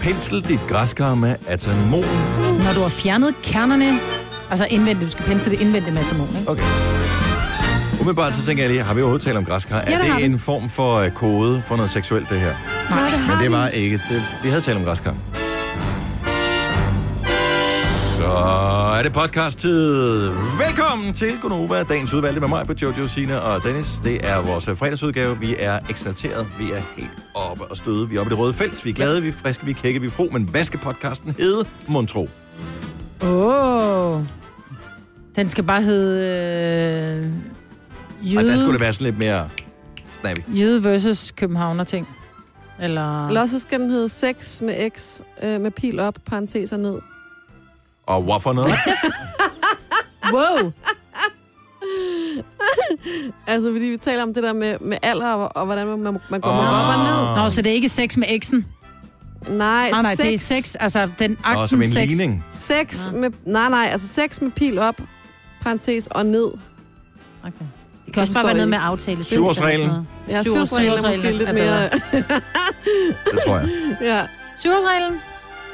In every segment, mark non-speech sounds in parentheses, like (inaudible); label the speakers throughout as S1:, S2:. S1: Pensel dit græskar med atamol.
S2: Når du har fjernet kernerne, altså indvendigt, du skal pensle det indvendigt med atamon, ikke?
S1: Okay. Umiddelbart så tænker jeg lige, har vi overhovedet talt om græskar?
S2: det
S1: er
S2: har
S1: det
S2: vi.
S1: en form for øh, kode for noget seksuelt, det her?
S2: Nej, det
S1: Men det var ikke til... Vi havde talt om græskar. Så er det podcast-tid. Velkommen til Gonova, dagens udvalgte med mig på Jojo, Sina og Dennis. Det er vores øh, fredagsudgave. Vi er eksalteret. Vi er helt oppe og støde. Vi er oppe i det røde felt. Vi er glade, vi er friske, vi er kække, vi er fro. Men hvad skal podcasten hedde, Montro?
S2: Åh. Oh. Den skal bare hedde... Øh,
S1: Og der skulle det
S2: jøde,
S1: være sådan lidt mere snappy.
S2: jøde versus københavner ting. Eller...
S3: Eller også skal den hedde 6 med x, øh, med pil op, parenteser ned.
S1: Og hvorfor noget?
S2: Wow!
S3: Altså, fordi vi taler om det der med, med alder og, og hvordan man, man, man går
S1: Åh.
S3: oh.
S2: Ah.
S3: op og
S1: Ah.
S3: ned.
S2: Nå, så det er ikke sex med eksen?
S3: Nej,
S2: Ah, Nej, nej,
S3: seks,
S2: det er sex. Altså, den
S1: Og som
S2: akten
S1: en
S2: sex. Ah.
S1: ligning.
S3: Seks
S2: Nå.
S3: med, nej, nej, altså 6 med pil op, parentes og ned.
S2: Okay. Det kan også
S3: forstår
S2: bare være noget
S3: ikke.
S2: med aftale.
S1: Syvårsreglen.
S3: Ja,
S2: Syv-
S3: syvårsreglen er måske
S2: syvårsreglen
S3: lidt
S2: er bedre.
S3: mere...
S1: Det tror jeg.
S3: (laughs) ja.
S2: Syvårsreglen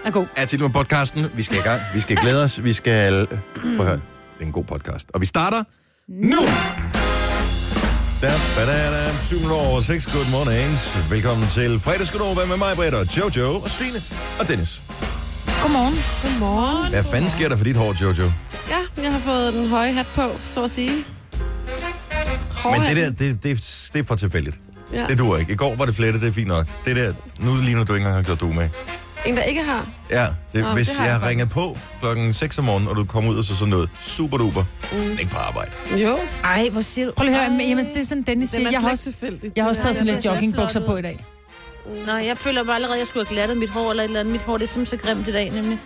S2: er god.
S1: er til med podcasten. Vi skal i gang. Vi skal glæde os. Vi skal... øh, Prøv at høre. Det er en god podcast. Og vi starter nu! Da, ba, da, da. 7 minutter over 6. Good mornings. Velkommen til fredagsgodova med mig, Britt, og Jojo, og Signe og Dennis.
S2: Godmorgen.
S3: Godmorgen.
S1: Hvad fanden sker der for dit hår, Jojo?
S3: Ja, jeg har fået den høje hat på, så at sige.
S1: Men det
S3: Hårhatten.
S1: der, det, det, det er for tilfældigt.
S3: Ja.
S1: Det duer ikke. I går var det flettet, det er fint nok. Det der, nu ligner du ikke engang har gjort du med.
S3: En, der ikke har.
S1: Ja, det,
S3: Nå,
S1: hvis
S3: det har
S1: jeg
S3: jeg
S1: har ringet på klokken 6 om morgenen, og du kommer ud og så sådan noget super duper, mm. ikke på arbejde.
S3: Jo.
S2: Ej, hvor siger du? Prøv lige at høre, men- jamen, det er sådan, Dennis
S3: Den
S2: siger.
S3: er
S2: Jeg har
S3: slet ikke
S2: også,
S3: tilfældig.
S2: jeg har også taget sådan
S4: den
S2: lidt
S4: ser så
S2: joggingbukser
S4: flot
S2: på
S4: ud.
S2: i dag.
S4: Nå, jeg føler bare allerede, at jeg skulle have glattet mit hår eller et eller andet. Mit hår, det er simpelthen så grimt i dag, nemlig.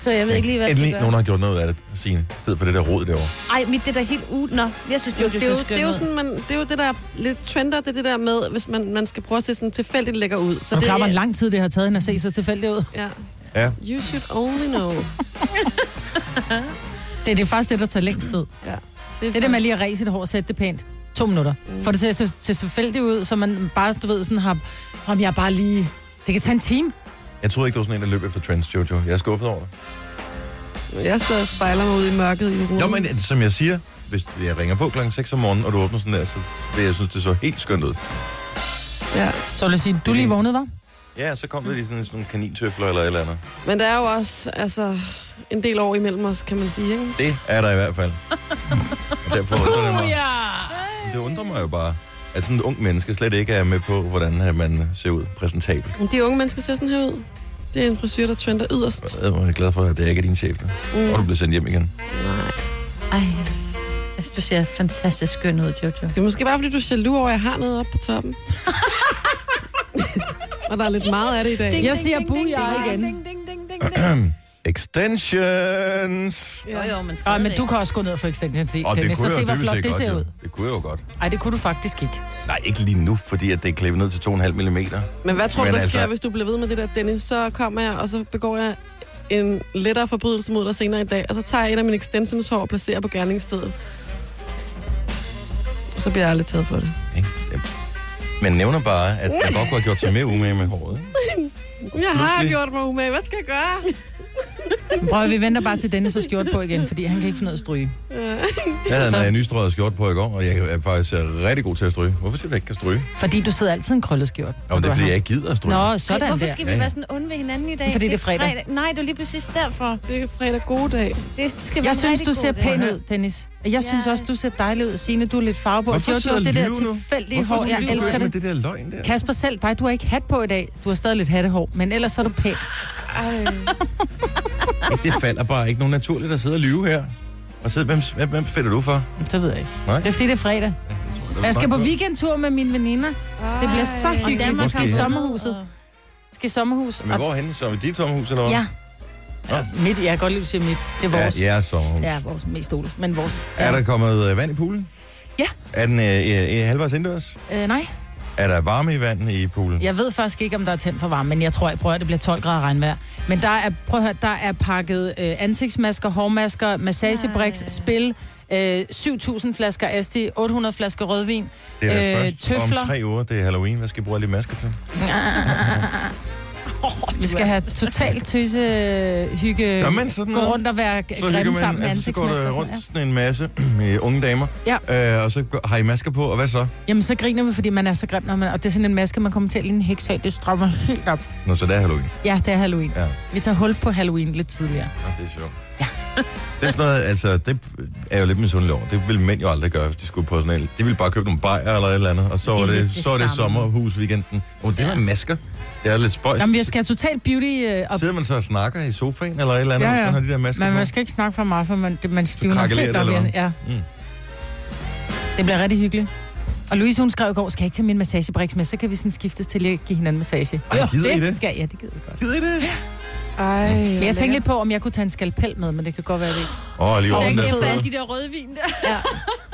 S4: Så jeg ved ikke lige, hvad jeg
S1: Endelig,
S4: skal gøre.
S1: nogen der har gjort noget af det, Signe, i stedet for det der rod derovre.
S4: Ej, mit det der helt ud. Nå, jeg synes jo, det,
S3: det, er
S4: det er
S3: jo,
S4: så
S3: det
S4: skønt.
S3: er jo
S4: ud.
S3: sådan, man, det er jo det der lidt trender, det er det der med, hvis man, man skal prøve at se sådan tilfældigt lækker ud. Så
S2: Du
S3: det
S2: klarer, hvor lang tid det har taget hende at se så tilfældigt ud.
S3: Ja.
S1: Ja.
S3: You should only know.
S2: Det, er- det er faktisk det, der tager længst tid.
S3: Ja.
S2: Det er det med lige at ræse sit hår og sætte det pænt. To minutter. Får det til at se se tilfældigt ud, så man bare, du ved, sådan har... Om jeg bare lige... Det kan tage en time.
S1: Jeg troede ikke, du var sådan en, der løb efter trends, Jojo. Jeg er skuffet over dig.
S3: Jeg sidder og spejler mig ud i mørket i rummet.
S1: Nå, men øh, som jeg siger, hvis jeg ringer på klokken 6 om morgenen, og du åbner sådan der, så vil jeg synes, det så helt skønt ud.
S3: Ja.
S2: Så vil jeg sige, du lige vågnede, var?
S1: Ja, så kom der lige sådan, sådan nogle kanintøfler eller et eller andet.
S3: men der er jo også altså, en del år imellem os, kan man sige. Ikke?
S1: Det er der i hvert fald. og derfor undrer det mig. Det undrer mig jo bare, at sådan et ung menneske slet ikke er med på, hvordan øh, man ser ud præsentabel.
S3: Men De unge mennesker ser sådan her ud. Det er en frisyr, der trender yderst. Mm.
S1: Jeg er glad for, at det ikke er din chef. Der. Og du bliver sendt hjem igen.
S4: Ej, altså, du ser fantastisk skøn ud, Jojo.
S3: Det er måske bare, fordi du er jaloux over, at jeg har noget oppe på toppen. (laughs) og der er lidt meget af det i dag.
S2: Jeg siger buja igen.
S1: Extensions!
S4: (clears throat) Jo, jo, men
S2: Nå,
S4: stadigvæk.
S2: men du kan også gå ned og få extension til,
S1: Og det
S2: Dennis,
S1: kunne
S2: så
S1: jeg
S2: se,
S1: jo dybest
S2: hvor flot
S1: set
S2: det
S1: godt,
S2: ser
S1: jo.
S2: ud.
S1: Det kunne jeg jo godt.
S2: Nej, det kunne du faktisk ikke.
S1: Nej, ikke lige nu, fordi at det er klippet ned til 2,5 mm.
S3: Men hvad tror du,
S1: Men
S3: der
S1: altså-
S3: altså... sker, hvis du bliver ved med det der, Dennis? Så kommer jeg, og så begår jeg en lettere forbrydelse mod dig senere i dag, og så tager jeg et af mine extensions hår og placerer på gerningsstedet. Og så bliver jeg aldrig taget for det.
S1: Ikke? Ja. Men nævner bare, at jeg godt kunne have gjort sig mere umage med håret.
S2: (laughs)
S1: ikke?
S3: Jeg har
S1: Pludselig.
S3: gjort mig umage. Hvad skal jeg
S4: (laughs)
S3: gøre?
S2: Men Prøv at- vi venter bare til Dennis har skjort på igen, fordi han kan ikke finde noget at stryge.
S1: Jeg havde en øh, nystrøget skjort på i går, og jeg er faktisk øh, rigtig god til at stryge. Hvorfor siger du, at jeg ikke kan stryge?
S2: Fordi du sidder altid i en krøllet skjort.
S1: Nå, men det er, fordi jeg ikke gider at stryge.
S2: Nå,
S4: Ej,
S2: sådan
S4: hvorfor
S2: der.
S4: skal
S1: Ja,
S4: vi
S1: ja.
S4: være sådan onde ved hinanden i dag?
S2: Fordi det er fredag.
S4: Nej, det er lige præcis derfor.
S3: Det er fredag gode dag.
S4: Det skal være
S2: Jeg
S4: en
S2: synes,
S4: rigtig
S2: du
S4: god
S2: ser
S4: dag.
S2: pæn ud, Dennis. Og Jeg synes
S4: Ja.
S2: også, du ser dejlig ud. Signe, du er lidt farve på.
S1: Hvorfor sidder
S2: Jojo, det der
S1: Liv nu?
S2: tilfældige
S1: Hvorfor
S2: hår,
S1: skal
S2: jeg
S1: du
S2: elsker
S1: begynde med
S2: det.
S1: det der løgn der?
S2: Kasper selv, dig, du har ikke hat på i dag. Du har stadig lidt hattehår, men ellers er du pæn.
S1: Det falder bare ikke nogen naturligt at sidde og lyve her. Og sidde, hvem, hvem, hvem fælder du for?
S2: Så ved jeg ikke.
S1: Nej.
S2: Det er fordi, det er fredag. Jeg skal på weekendtur med mine veninder. Det bliver så
S4: Og
S2: hyggeligt. Vi
S4: Danmark
S1: Måske.
S2: skal i
S4: har vundet,
S2: sommerhuset.
S4: og-
S2: Vi skal i sommerhus.
S1: Men
S2: Og-
S1: hvorhen? Så er dit sommerhus, eller hvad?
S2: Ja.
S1: Nå.
S2: Ja, Mit, jeg kan godt lide, at du siger mit. Det er
S1: Ja,
S2: vores.
S1: ja, sommerhus.
S2: Ja, vores mest Oles, men vores...
S1: Er der kommet øh, vand i poolen?
S2: Ja.
S1: Er den øh, øh, øh, halvvejs indendørs?
S2: Øh, nej,
S1: Er der varme i vandet i poolen?
S2: jeg ved faktisk ikke, om der er tændt for varme, men jeg tror, jeg prøver, at det bliver 12 grader regnvejr. Men der er, prøv at høre, der er pakket øh, ansigtsmasker, hårmasker, massagebriks,
S4: Nej.
S2: spil, øh, 7.000 flasker Asti, 800 flasker rødvin.
S1: Det er
S2: Øh,
S1: først om
S2: tøfler. Øh,
S1: tre uger, det er Halloween. Hvad skal jeg bruge alle de masker til?
S2: Vi skal have totalt tøse øh, hygge.
S1: Gør man sådan
S2: Gå
S1: noget?
S2: rundt og være
S1: så
S2: grimme
S1: hygger
S2: sammen
S1: man,
S2: med
S1: altså, så går
S2: ansigtsmasker.
S1: der
S2: og sådan
S1: rundt
S2: noget.
S1: sådan en masse (clears throat) øh, unge damer, ja. øh, og så går- har I masker på, og hvad så?
S2: Ja. Jamen, så griner vi, fordi man er så grim, når man, og det er sådan en maske, man kommer til at ligne en heks af. Det strammer helt op.
S1: Nå, så det er Halloween.
S2: Ja, det er Halloween.
S1: Ja.
S2: Vi tager hul på Halloween lidt tidligere.
S1: Ja, det er sjovt. Ja. (laughs) Det er sådan noget, altså, det er jo lidt misundelig over. Det ville mænd jo aldrig gøre, hvis de skulle på sådan en. De ville bare købe nogle bajer eller et eller andet, og så
S2: Det er
S1: var det,
S2: lidt det
S1: så var det
S2: samme.
S1: sommerhusweekenden. Og det var masker. Det er lidt spøjst.
S2: Jamen, vi skal have totalt beauty øh, op.
S1: Sidder man så og snakker i sofaen eller et eller andet,
S2: Ja,
S1: ja, ja.
S2: ja.
S1: hvis man har de der masker
S2: Men
S1: på?
S2: man skal ikke snakke for meget, for man, det, man stivner
S1: krakkelerer
S2: helt
S1: det,
S2: op
S1: eller
S2: igen. Ja.
S1: Mm.
S2: Det bliver rigtig hyggeligt. Og Louise, hun skrev i går, skal jeg ikke tage min massagebriks med, så kan vi sådan skiftes til lige at give hinanden massage.
S1: Ej, gider I
S2: det,
S1: det?
S2: Skal, jeg. ja, det gider vi godt.
S1: Gider I det?
S3: Ej,
S2: Men jeg tænkte lidt på, om jeg kunne tage en skalpel med, men det kan godt være, det ikke.
S1: Åh, oh, lige
S2: Så
S1: over
S2: jeg
S1: den
S2: kan
S1: der
S2: få
S1: fede.
S4: de der rødvin der.
S2: Ja.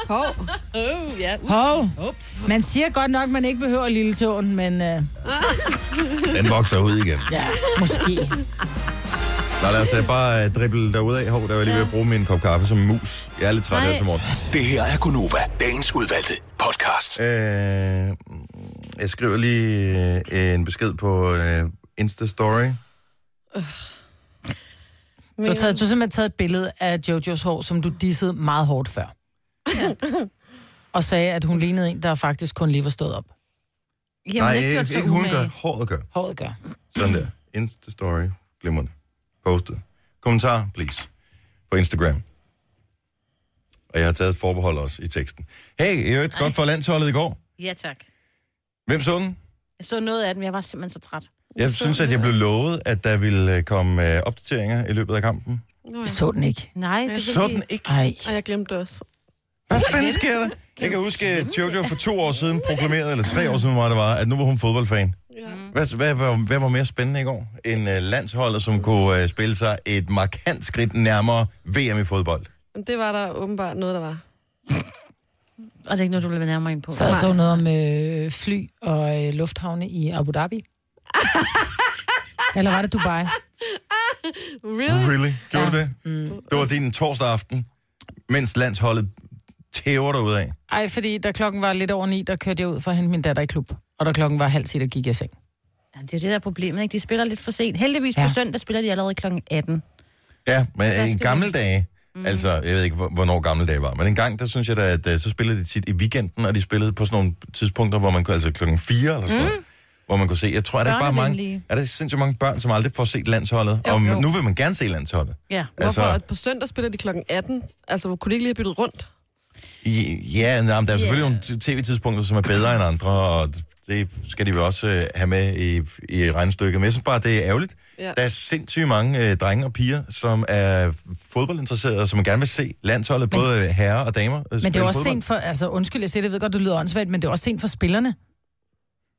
S3: Hov.
S4: Oh, ja.
S2: Hov,
S4: Ups.
S2: man siger godt nok, man ikke behøver lille tåen, men øh,
S1: Den vokser ud igen.
S2: ja,
S1: (laughs)
S2: måske.
S1: Nå, lad os øh, bare uh, drible derudad. Hov, der var jeg lige ved at bruge min kop kaffe som mus. Jeg er lidt træt
S4: Nej.
S1: her til morgen.
S5: Det her er Gunova, dagens udvalgte podcast.
S1: Øh, jeg skriver lige øh, en besked på øh, Insta-story.
S2: Du har, taget, du har simpelthen taget et billede af Jojos hår, som du dissede meget hårdt før. Og sagde, at hun lignede en, der faktisk kun lige var stået op.
S4: Jamen,
S1: Nej,
S4: det er gjort
S1: ikke,
S4: så
S1: ikke hun
S4: umage.
S1: gør. Håret gør.
S2: Håret gør.
S1: Sådan der. Insta-story. Glimrende. Postet. Kommentar, please. På Instagram. Og jeg har taget et forbehold også i teksten. Hey, i øvrigt godt for landsholdet i går.
S4: Ja, tak.
S1: Hvem så den?
S4: Jeg så noget af den, men jeg var simpelthen så træt.
S1: Jeg synes, at jeg blev lovet, at der ville øh, komme øh, opdateringer i løbet af kampen.
S3: Nå, ja.
S2: Jeg så den ikke.
S4: Nej, det
S1: Så den ikke.
S2: Ej.
S3: Og jeg glemte det også.
S1: Hvad fanden sker der? Jeg kan huske, at Jojo for to år siden proklamerede, eller tre år siden, hvor meget det var, at nu var hun fodboldfan. Mm.
S3: Ja.
S1: Hvad, hvad, hvad, hvad var mere spændende i går? En uh, landsholder, som kunne uh, spille sig et markant skridt nærmere VM i fodbold.
S3: Men det var der åbenbart noget, der var.
S4: Og det er ikke noget, du vil være nærmere ind på.
S2: Så jeg så noget om øh, fly og øh, lufthavne i Abu (laughs) Dhabi. Eller var det Dubai?
S3: Really?
S1: Really? Gjorde ja. det? Mm. Det var din torsdag aften, mens landsholdet tæver dig ud af.
S2: Ej, fordi da klokken var lidt over ni, der kørte jeg ud for at hente min datter i klub. Og da klokken var halv ti, der gik jeg i seng.
S4: Ja, det er det, der er problemet, ikke? De spiller lidt for sent. Heldigvis ja.
S2: Ja.
S4: på søndag spiller de allerede kl. 18.
S1: Ja, men i
S4: skal
S1: gamle
S4: man-
S1: dage, mm. altså jeg ved ikke, hvor- hvornår gamle dage var, men en gang, der synes jeg da, at øh, så spillede de tit i weekenden, og de spillede på sådan nogle tidspunkter, hvor man kunne, altså klokken 4 eller sådan mm. hvor man kunne se, jeg tror, at der er bare mange,
S4: Børnevenlige.
S1: er der sindssygt mange børn, som aldrig får set landsholdet, jo, og
S4: jo.
S1: nu vil man gerne se landsholdet.
S4: Ja.
S3: Hvorfor?
S1: Altså-
S3: Altså... På søndag spiller de klokken 18. Altså, hvor kunne de ikke lige have byttet rundt?
S1: I- Ja, nej, men der er selvfølgelig yeah. nogle tv-tidspunkter, som er bedre end andre, og det skal de vel også øh, have med i, i regnstykket. Men jeg synes bare, det er ærgerligt.
S3: Ja.
S1: Der er sindssygt mange øh, drenge og piger, som er fodboldinteresserede, og som gerne vil se landsholdet, men, både øh, herrer og damer.
S2: Men det er jo også sent for... Altså, undskyld, jeg siger det, jeg ved godt, du lyder åndssvagt, men det er også sent for spillerne.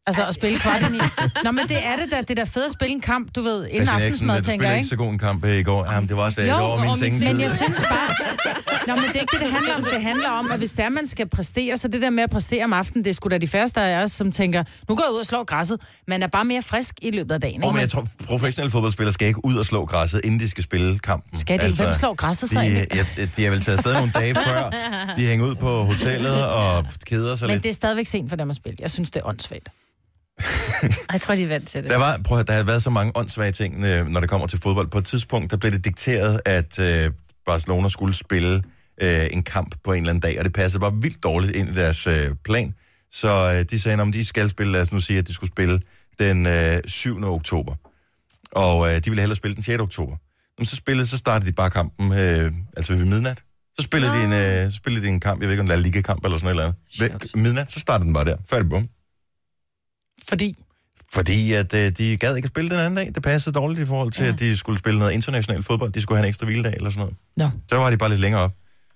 S2: Altså, at spille kvart i ni. Nå, men det er det da. Det er da fedt at spille en kamp, du ved, inden aftensmad,
S1: du øh,
S2: tænker
S1: spillede
S2: jeg,
S1: ikke
S2: ikke?
S1: så god en kamp øh, i går. Jamen, det var også øh,
S2: Jo,
S1: over min
S2: men
S1: sengetid.
S2: jeg synes bare...
S1: (laughs)
S2: Nå, men det er ikke det, det handler om. Det handler om, at hvis det er, man skal præstere, så det der med at præstere om aftenen, det er sgu da de færreste af os, som tænker, nu går jeg ud og slår græsset. Man er bare mere frisk i løbet af dagen.
S1: Oh,
S2: ikke?
S1: men jeg tror, professionelle fodboldspillere skal ikke ud og slå græsset, inden de skal spille kampen. Altså,
S2: Skal de? Hvem slår græsset så
S1: de,
S2: egentlig?
S1: ja, de er vel taget afsted nogle
S2: (laughs)
S1: dage før. De hænger ud på hotellet og keder sig
S2: Men
S1: lidt.
S2: det er stadigvæk sent for dem at spille. Jeg synes, det er åndssvagt.
S4: Ej, jeg tror, de er vant til det.
S1: Der, var, prøv, at høre, der havde været så mange åndssvage ting, øh, når det kommer til fodbold. På et tidspunkt, der blev det dikteret, at øh, Barcelona skulle spille øh, en kamp på en eller anden dag, og det passede bare vildt dårligt ind i deres øh, plan. Så øh, de sagde, om de skal spille, lad os nu sige, at de skulle spille den øh, 7. oktober. Og øh, de ville hellere spille den 6. oktober. Men så spillede, så startede de bare kampen, øh, altså ved midnat. Så spillede, de en, øh, så spillede de en kamp, jeg ved ikke om det er ligakamp eller sådan noget eller andet. Ved, midnat, så startede den bare der. Færdig bum.
S2: Fordi
S1: Fordi at øh, de gad ikke at spille den anden dag. Det passede dårligt i forhold til, ja. at de skulle spille noget international fodbold. De skulle have en ekstra hviledag eller sådan noget.
S2: Nå.
S1: Der var de bare lidt længere op.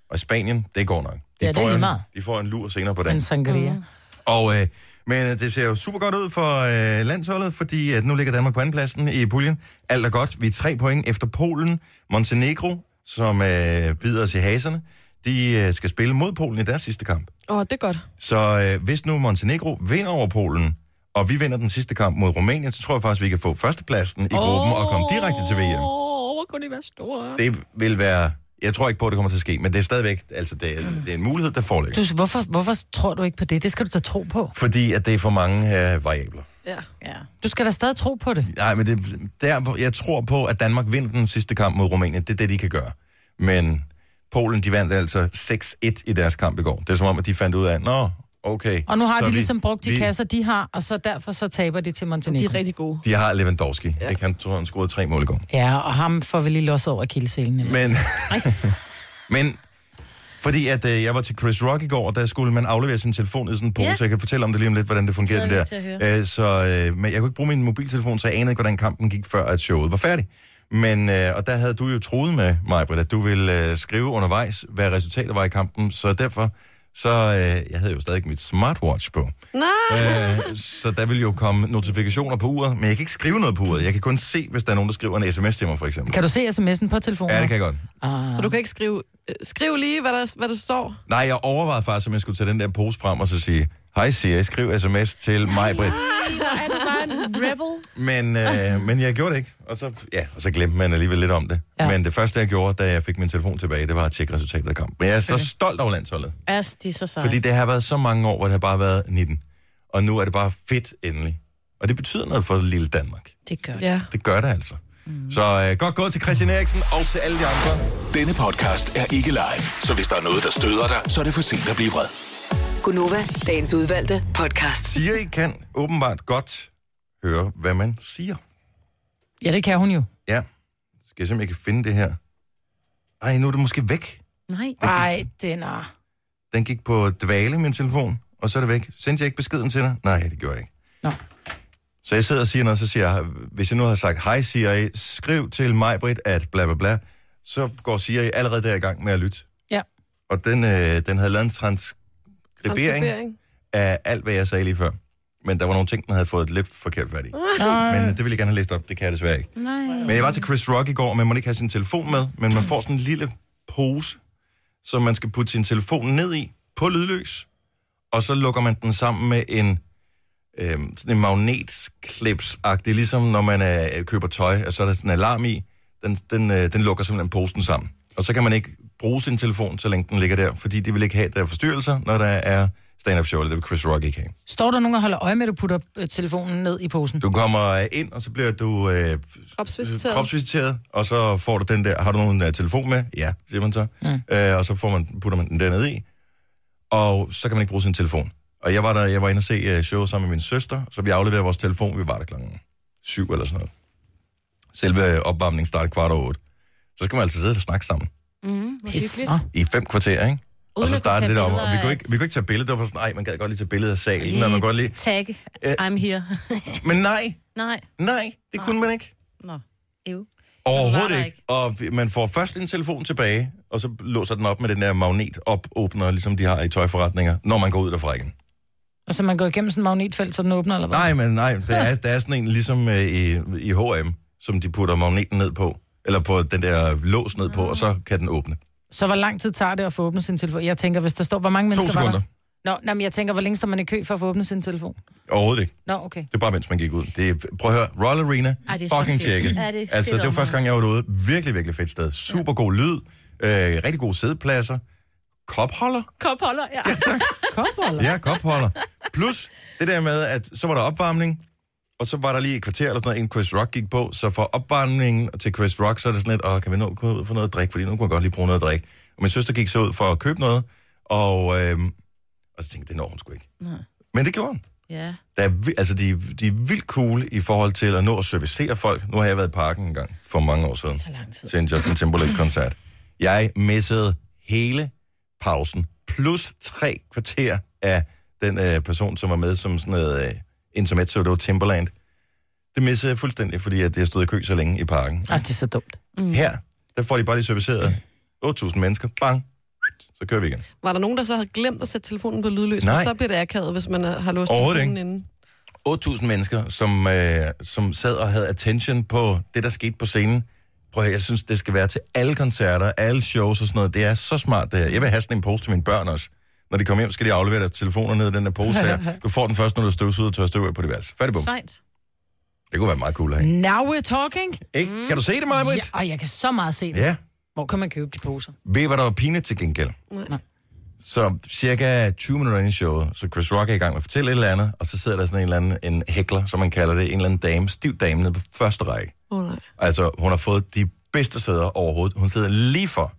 S1: Og Spanien, det går nok. De,
S2: Ja, det er
S1: får,
S2: lige
S1: en,
S2: meget.
S1: de får en lur senere på
S2: en
S1: dagen.
S2: sangria.
S3: Mm.
S1: Og, øh, men øh, det ser jo super godt ud for øh, landsholdet, fordi at nu ligger Danmark på andenpladsen i puljen. Alt er godt. Vi er tre point efter Polen. Montenegro, som øh, bider os i haserne, de øh, skal spille mod Polen i deres sidste kamp.
S3: Åh, oh, det er godt.
S1: Så øh, hvis nu Montenegro vinder over Polen, og vi vinder den sidste kamp mod Rumænien, så tror jeg faktisk, vi kan få førstepladsen i gruppen oh. og komme direkte til VM.
S4: Åh, hvor kunne de være store?
S1: Det vil være... Jeg tror ikke på, at det kommer til at ske, men det er stadigvæk... Altså, det er, det er en mulighed, der foreligger.
S2: Du, hvorfor, hvorfor tror du ikke på det? Det skal du da tro på.
S1: Fordi at det er for mange øh, variabler.
S3: Ja.
S2: Ja. Du skal da stadig tro på det.
S1: Nej, men det, der, hvor- jeg tror på, at Danmark vinder den sidste kamp mod Rumænien. Det er det, de kan gøre. Men Polen, de vandt altså 6-1 i deres kamp i går. Det er som om, at de fandt ud af, nå, okay.
S2: Og nu har
S1: så
S2: de
S1: vi-
S2: ligesom brugt de
S1: vi-
S2: kasser, de har, og så derfor så taber de til
S3: De
S2: Montenegro.
S3: er rigtig gode.
S1: De har Lewandowski. Ja. Ikke? Han tror, han scorede tre mål i går.
S2: Ja, og ham får vi lige los over kildeselen. Men...
S1: Men, (laughs) men fordi at øh, jeg var til Chris Rock i går, og der skulle man aflevere sin telefon i sådan en pose.
S4: Ja.
S1: Jeg kan fortælle om det lige om lidt, hvordan det fungerer
S4: Glæder
S1: det
S4: mig til
S1: der. Øh, så, øh, men jeg kunne ikke bruge min mobiltelefon, så jeg anede ikke, hvordan kampen gik, før at showet var færdig. Men, øh, og der havde du jo troet med mig, Britt, at du ville øh, skrive undervejs, hvad resultatet var i kampen. Så derfor, så øh, jeg havde jo stadig mit smartwatch på.
S3: Nej!
S1: Øh, så der vil jo komme notifikationer på uret, men jeg kan ikke skrive noget på uret. Jeg kan kun se, hvis der er nogen, der skriver en sms til mig, for eksempel.
S2: Kan du se sms'en på telefonen?
S1: Ja, det kan
S2: også?
S1: jeg godt.
S3: Så du kan ikke skrive... øh, Skriv lige, hvad der, hvad der står.
S1: Nej, jeg overvejede faktisk, om jeg skulle tage den der pose frem og så sige, hej Siri, skriv sms til mig, Britt.
S4: Ah, Hvor er du bare en rebel?
S1: Men, øh, men jeg gjorde det ikke, og så, ja, og så glemte man alligevel lidt om det. Ja.
S2: Ja.
S1: Men det første, jeg gjorde, da jeg fik min telefon tilbage, det var at tjekke resultatet af kampen. Men jeg er så stolt over landsholdet,
S4: Altså, de er så seje.
S1: fordi det har været så mange år, hvor det har bare været 19. Og nu er det bare fedt endelig. Og det betyder noget for lille Danmark.
S4: Det gør de.
S3: Ja.
S1: Det gør det altså. Mm. Så øh, godt gået til Christian Eriksen og til alle de andre.
S5: Denne podcast er ikke live, så hvis der er noget, der støder dig, så er det for sent at blive vred.
S6: Gunova, dagens udvalgte podcast.
S1: Siri kan åbenbart godt høre, hvad man siger.
S2: Ja, det kan hun jo.
S1: Ja. Skal jeg se, om jeg kan finde det her? Ej, nu er det måske væk.
S4: Nej.
S2: Nej, den er...
S1: Den gik på dvale, min telefon, og så er det væk. Sendte jeg ikke beskeden til dig? Nej, det gjorde jeg ikke.
S2: Nå.
S1: Så jeg sidder og siger noget, så siger jeg, hvis jeg nu har sagt, hej Siri, skriv til mig, Britt, at bla bla bla, så går Siri allerede der i gang med at lytte.
S2: Ja.
S1: Og den, øh, den havde lavet en transkribering
S3: Transkribering.
S1: af alt, hvad jeg sagde lige før. Men der var nogle ting, den havde fået lidt forkert fat i. Men øh, det ville jeg gerne have læst op, det kan jeg desværre ikke.
S4: Nej.
S1: Men jeg var til Chris Rock i går, og man må ikke have sin telefon med, men man får sådan en lille pose, som man skal putte sin telefon ned i på lydløs, og så lukker man den sammen med en, øh, sådan en magnetklipsagtig, ligesom når man øh, køber tøj, og så er der sådan en alarm i, den, den, øh, den lukker simpelthen posen sammen. Og så kan man ikke bruge sin telefon, så længe den ligger der, fordi de vil ikke have, at der er forstyrrelser, når der er stand-up show, eller det vil Chris Rock ikke have.
S2: Står der nogen og holder øje med, at du putter øh, telefonen ned i posen?
S1: Du kommer øh, ind, og så bliver du øh,
S3: Kropsvisiteret.
S1: kropsvisiteret, og så får du den der, har du nogen uh, telefon med? Ja, siger man så. Mm. Øh, og så får man, putter man den dernede i, og så kan man ikke bruge sin telefon. Og jeg var, der, jeg var inde og se uh, showet sammen med min søster, så vi afleverede vores telefon, vi var der klokken syv eller sådan noget. Selve øh, opvarmningen startede kvart over otte. Så skal man altså sidde og snakke sammen
S2: Pis.
S4: hyggeligt.
S2: Nå.
S1: i fem kvarter, ikke? og
S4: Uden
S1: så
S4: at kunne
S1: startede
S4: tage
S1: det om, og
S4: billeder
S1: vi kunne,
S4: af-
S1: ikke, vi kunne ikke tage billeder, det var sådan, nej, man gad godt lige tage billeder af salen, men man godt Øh. lige...
S4: Tag. I'm here.
S1: Men nej,
S4: (laughs) Nej.
S1: nej, det kunne man ikke.
S4: Nå. Ew. var
S1: Overhovedet
S4: der
S1: ikke. ikke.
S4: ikke.
S1: Og vi- man får først en telefon tilbage, og så låser den op med den der magnetopåbner, ligesom de har i tøjforretninger, når man går ud derfra igen.
S2: Og så Altså, man går igennem sådan en magnetfelt, så den åbner, eller hvad?
S1: Nej, men nej, der (laughs) er, der er sådan en ligesom øh, i, i H&M, som de putter magneten ned på, eller på den der lås ned på, og så kan den åbne.
S2: Så hvor lang tid tager det at få åbnet sin telefon? Jeg tænker, hvis der står, hvor mange
S1: To
S2: mennesker var
S1: sekunder.
S2: der? Nå, nej, men jeg tænker, hvor længe står man i kø for at få åbnet sin telefon?
S1: Overhovedet ikke.
S2: Nå, okay.
S1: Det er bare, mens man gik ud. Det er, prøv at høre, Royal Arena,
S4: Ej, det er så
S1: fucking
S4: fedt.
S1: tjekke.
S4: Ja, det er
S1: altså,
S4: fedt
S1: det var første
S4: område.
S1: gang, jeg var derude. Virkelig, virkelig fedt sted. Super god lyd, øh, rigtig gode sædepladser, kopholder,
S4: Kopholder, ja.
S2: Kopholder?
S1: Ja, kopholder. Plus det der med, at så var der opvarmning, og så var der lige et kvarter eller sådan noget, inden Chris Rock gik på. Så fra opvarmningen til Chris Rock, så er det sådan lidt, åh, kan vi nå at gå ud for noget drik? Fordi nu kunne jeg godt lige bruge noget drik. Og min søster gik så ud for at købe noget, og, øhm, og så tænkte jeg, det når hun sgu ikke. Nej. Men det gjorde hun.
S4: Ja.
S1: Der er, vi- altså, de, er- de er vildt cool i forhold til at nå at servicere folk. Nu har jeg været i parken en gang for mange år siden.
S4: lang tid.
S1: Til en Justin Timberlake-koncert. Jeg missede hele pausen. Plus tre kvarter af den øh, person, som var med som sådan noget øh, intermezzo. Det var Timberland. Det missede jeg fuldstændig, fordi at jeg stod i kø så længe i parken.
S2: Ej, det er så dumt.
S1: Mm. Her, der får de bare lige serviceret 8.000 mennesker. Bang! Så kører vi igen.
S3: Var der nogen, der så havde glemt at sætte telefonen på lydløs?
S1: Nej.
S3: For Så bliver det akavet, hvis man øh, har låst
S1: Overhovedet
S3: telefonen
S1: ikke.
S3: inden.
S1: 8.000 mennesker, som, øh, som sad og havde attention på det, der skete på scenen. Prøv at høre, jeg synes, det skal være til alle koncerter, alle shows og sådan noget. Det er så smart, det her. Jeg vil have sådan en pose til mine børn også. Når de kommer hjem, skal de aflevere deres telefoner ned i den her pose her. Du får den først, når du støvsuger og tør støv af på dit værelse. Færdig bum.
S4: Sejt.
S1: Det kunne være meget cool at have.
S2: Now we're talking.
S1: Ikke? Kan du se det, Maja
S2: Ja, og jeg kan så meget se det.
S1: Ja.
S2: Hvor kan man købe de poser?
S1: Ved I, hvad der var pinligt til gengæld?
S3: Nej.
S2: Nej.
S1: Så cirka 20 minutter ind i showet, så Chris Rock er i gang med at fortælle et eller andet, og så sidder der sådan en eller anden en hækler, som man kalder det, en eller anden dame, stiv dame nede på første række.
S3: Åh oh, nej.
S1: Altså, hun har fået de bedste sæder overhovedet. Hun sidder lige for.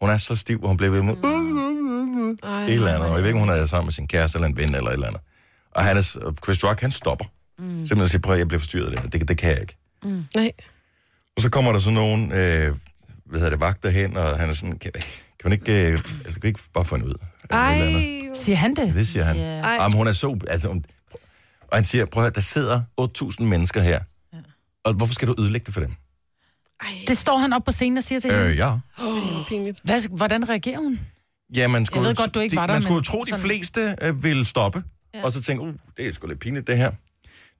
S1: Hun er så stiv, og hun bliver ved med uh,
S3: Ej,
S1: et eller andet. Og jeg ved ikke, om hun er sammen med sin kæreste eller en ven eller et eller andet. Og han er, s- og Chris Rock, han stopper. Mm. Simpelthen siger, prøv at jeg bliver forstyrret af det her. Det, det kan jeg ikke.
S3: Nej.
S1: Og så kommer der sådan nogen, øh, hvad hedder det, vagter hen, og han er sådan, kan, kan man ikke, øh, altså, kan vi ikke bare få hende ud? Eller et
S3: Ej.
S1: eller andet.
S2: Siger han det?
S1: Det siger han.
S4: Ja.
S1: Yeah. Jamen, hun er så... Altså, hun, og han siger, prøv at høre, der sidder 8.000 mennesker her. Og hvorfor skal du ødelægge det for dem?
S3: Ej, det
S2: Det står han op på scenen og siger til hende.
S1: Øh, ja.
S3: er pinligt.
S2: Hvad, hvordan reagerer hun?
S1: Ja, man skulle,
S2: ved godt, du ikke
S1: de,
S2: var der,
S1: man skulle
S2: men
S1: tro, de
S2: sådan-
S1: fleste øh, ville stoppe. Ja. Og så tænke, uh, det er sgu lidt pinligt, det her.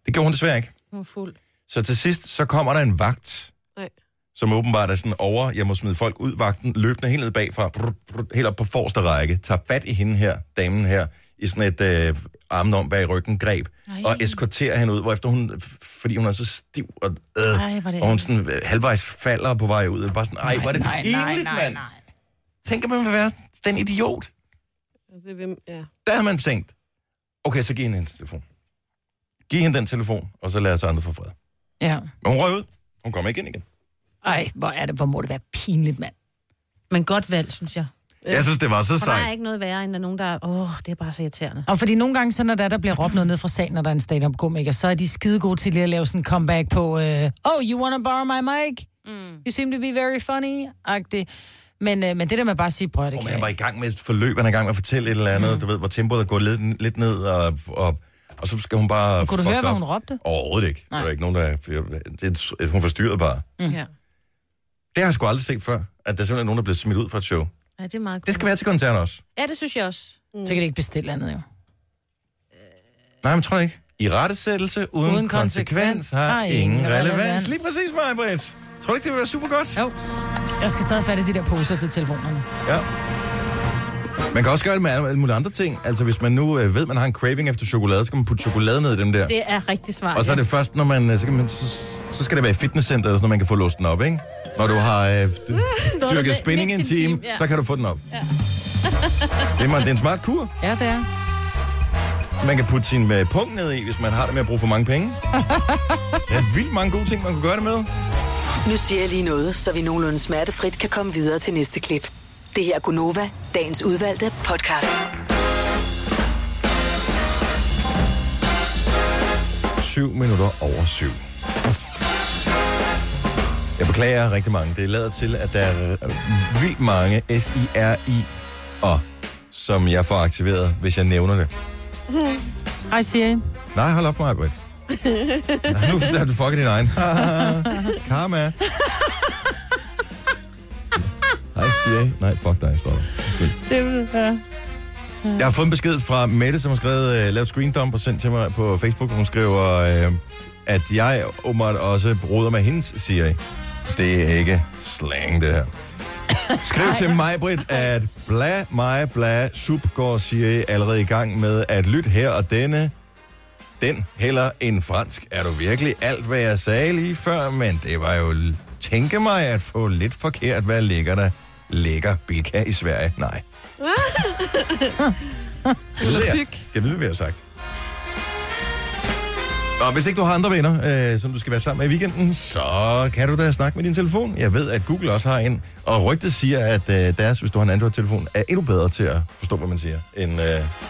S1: Det gjorde hun desværre ikke.
S4: (laughs) Hun er fuld.
S1: Så til sidst, så kommer der en vagt,
S3: Nej.
S1: som åbenbart er sådan over, jeg må smide folk ud, vagten løbende helt ned bagfra, brr, brr, helt op på forreste række, tager fat i hende her, damen her, i sådan et øh, armen om bag ryggen greb, Ej. og eskorterer hende ud, hvorefter hun, f- fordi hun er så stiv, og, øh,
S4: Ej, hvor er det
S1: og hun sådan øh, halvvejs falder på vej ud, og bare sådan, ej, hvor er det
S2: nej, nej,
S1: pinligt,
S2: nej,
S1: mand.
S2: nej.
S1: Tænker man vil være den idiot?
S3: Det er hvem, ja.
S1: Der har man tænkt, okay, så giv hende hendes telefon. Giv hende den telefon, og så lad os andre få fred.
S2: Ja.
S1: Men hun røg ud. Hun kommer ikke ind igen.
S2: Ej, hvor er det, hvor må det være pinligt, mand.
S4: Men godt valg, synes jeg.
S1: Jeg synes, det var så
S4: For der er ikke noget værre, end der er nogen, der er... Åh, det er bare så irriterende.
S2: Og fordi nogle gange, så når der, er, der bliver råbt noget ned fra salen, når der er en stand-up komiker, så er de skide gode til lige at lave sådan en comeback på, øh, oh, you wanna borrow my mic? Mm. You seem to be very funny. -agtig. Men, øh, men det der med bare at sige, prøv at det
S1: Og
S2: kan
S1: man
S2: jeg
S1: var
S2: ikke.
S1: i gang med et forløb, han er i gang med at fortælle et eller andet, mm. du ved, hvor tempoet er gået lidt, lidt ned, og, og, og så skal hun bare...
S2: Kunne du
S1: fuck
S2: høre, hvad
S1: op.
S2: hun råbte?
S1: Overhovedet ikke. Nej. Der er ikke nogen, der... Det, er- hun forstyrrede bare.
S4: Mm. Ja.
S1: Det har jeg sgu aldrig set før, at der simpelthen er nogen, der bliver smidt ud fra et show.
S4: ja, det er meget
S1: Det
S4: godt.
S1: skal være til koncerten også.
S4: Ja, det synes jeg også.
S2: Så kan det ikke bestille andet, jo.
S1: Nej, men tror jeg ikke. I rettesættelse uden, uden
S2: Uden
S1: konsekvens,
S2: konsekvens
S1: har ingen relevans. relevans.
S2: relevans.
S1: Lige præcis, mig, Brits. Tror du ikke, det vil være super godt?
S2: Jo. Jeg skal stadig fatte de der poser til telefonerne.
S1: Ja. Man kan også gøre det med alle alle mulige andre ting. Altså, hvis man nu øh, ved, at man har en craving efter chokolade, så kan man putte chokolade ned i dem der.
S4: Det er rigtig smart.
S1: Og så er det først, når man, øh, så, kan man så, så skal det være i fitnesscenteret, så man kan få låst den op, ikke? Når du har
S4: (laughs)
S1: øh, d-
S4: der
S1: dyrket
S4: med-
S1: spinning i en
S4: mindst en
S1: time,
S4: time, ja.
S1: så kan du få den op. Det er, meget- det er en smart kur.
S2: Ja, det er.
S1: Man kan putte sin øh, pung ned i, hvis man har det med at bruge for mange
S4: (laughs)
S1: penge. Der er vildt mange gode ting, man kan gøre det med.
S6: Nu siger jeg lige noget, så vi nogenlunde smertefrit kan komme videre til næste klip. Det her er Gunova, dagens udvalgte podcast.
S1: 7 minutter over 7. Jeg beklager rigtig mange. Det lader til, at der er øh, vildt mange S-I-R-I-'er, som jeg får aktiveret, hvis jeg nævner det.
S2: Hej Siri.
S1: Nej, hold op,
S2: (laughs)
S1: Maja Britt. Nej, nu der har du fucket din egen. Karma. Hej, Siri. Nej, fuck dig, står der. Undskyld.
S2: Det, ja.
S1: Jeg har fået en besked fra Mette, som har skrevet, øh, lavet screen dump og sendt til mig på Facebook. Hun skriver, øh, at jeg åbenbart også roder med hendes Siri. Det er ikke slang, det her. Skriv til mig, Britt, at bla mig bla sub går Siri allerede i gang med at lytte her og denne. Den heller en fransk. Er du virkelig alt, hvad jeg sagde lige før? Men det var jo l- tænke mig at få lidt forkert, hvad ligger der? Ligger Bilka i Sverige? Nej. Det ved jeg. Jeg ved, hvad jeg har sagt. Og hvis ikke du har andre venner, øh, som du skal være sammen med i weekenden, så kan du da snakke med din telefon. Jeg ved, at Google også har en, og rygtet siger, at øh, deres, hvis du har en Android-telefon, er endnu bedre til at forstå, hvad man siger, end øh,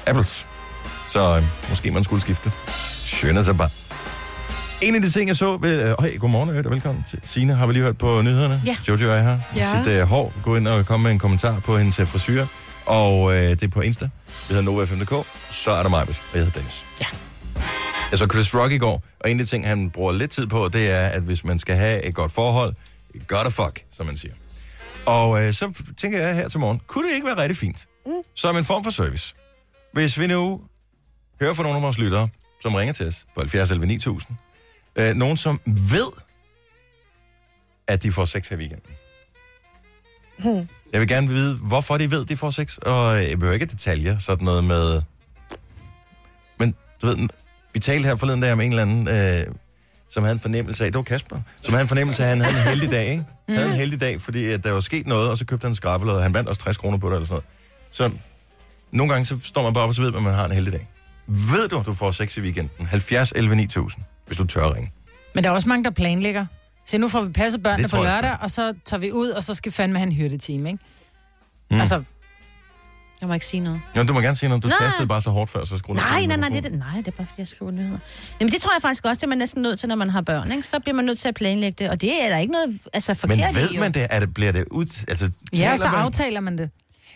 S1: Apples. Så øh, måske man skulle skifte. Skønner sig bare. En af de ting, jeg så... Ved, øh, hej, godmorgen og velkommen til Signe. Har vi lige hørt på nyhederne?
S4: Ja.
S1: Jojo er her.
S3: Ja.
S1: Sit øh, hår. Gå ind og kom med en kommentar på hendes øh, frisyr. Og øh, det er på Insta. Vi hedder NovaFM.dk. Så er der mig, og jeg hedder Dennis.
S2: Ja.
S1: Jeg så Chris Rock i går, og en af de ting, han bruger lidt tid på, det er, at hvis man skal have et godt forhold, godt a fuck, som man siger. Og øh, så tænker jeg her til morgen, kunne det ikke være rigtig fint? Mm. Som en form for service. Hvis vi nu hører fra nogle af vores lyttere, som ringer til os på 70 11 9000. Øh, nogen, som ved, at de får sex her i weekenden. Jeg vil gerne vide, hvorfor de ved, at de får sex. Og øh, jeg behøver ikke detaljer, sådan noget med... Men du ved, vi talte her forleden dag om en eller anden, øh, som havde en fornemmelse af... Det var Kasper. Som havde en fornemmelse af, at han havde en heldig dag, ikke? Han havde en heldig dag, fordi at der var sket noget, og så købte han en skrabbelod, og han vandt også 60 kroner på det eller sådan noget. Så nogle gange så står man bare op, og så ved man, at man har en heldig dag. Ved du, at du får sex i weekenden? 70 11 9000, hvis du tør at ringe.
S2: Men der er også mange, der planlægger. Så nu får vi passet børnene
S1: Det
S2: på
S1: tror jeg også,
S2: lørdag, og så tager vi ud, og så skal fandme have en hyrdeteam, ikke? Mm. Altså,
S4: Jeg må ikke sige noget.
S1: Nå, du må gerne sige noget. Du
S4: Nej.
S1: tastede bare så hårdt før, så skruede
S4: Nej, nej, nej, det, er det, nej, det er bare fordi, jeg skriver nyheder. Jamen, det tror jeg faktisk også, det er man næsten nødt til, når man har børn. Ikke? Så bliver man nødt til at planlægge det, og det er der ikke noget altså,
S1: Men
S4: forkert i.
S1: ved
S4: jo.
S1: man det? Er det bliver det ud? Altså,
S2: ja,
S1: taler
S2: så
S1: man-
S2: aftaler man det.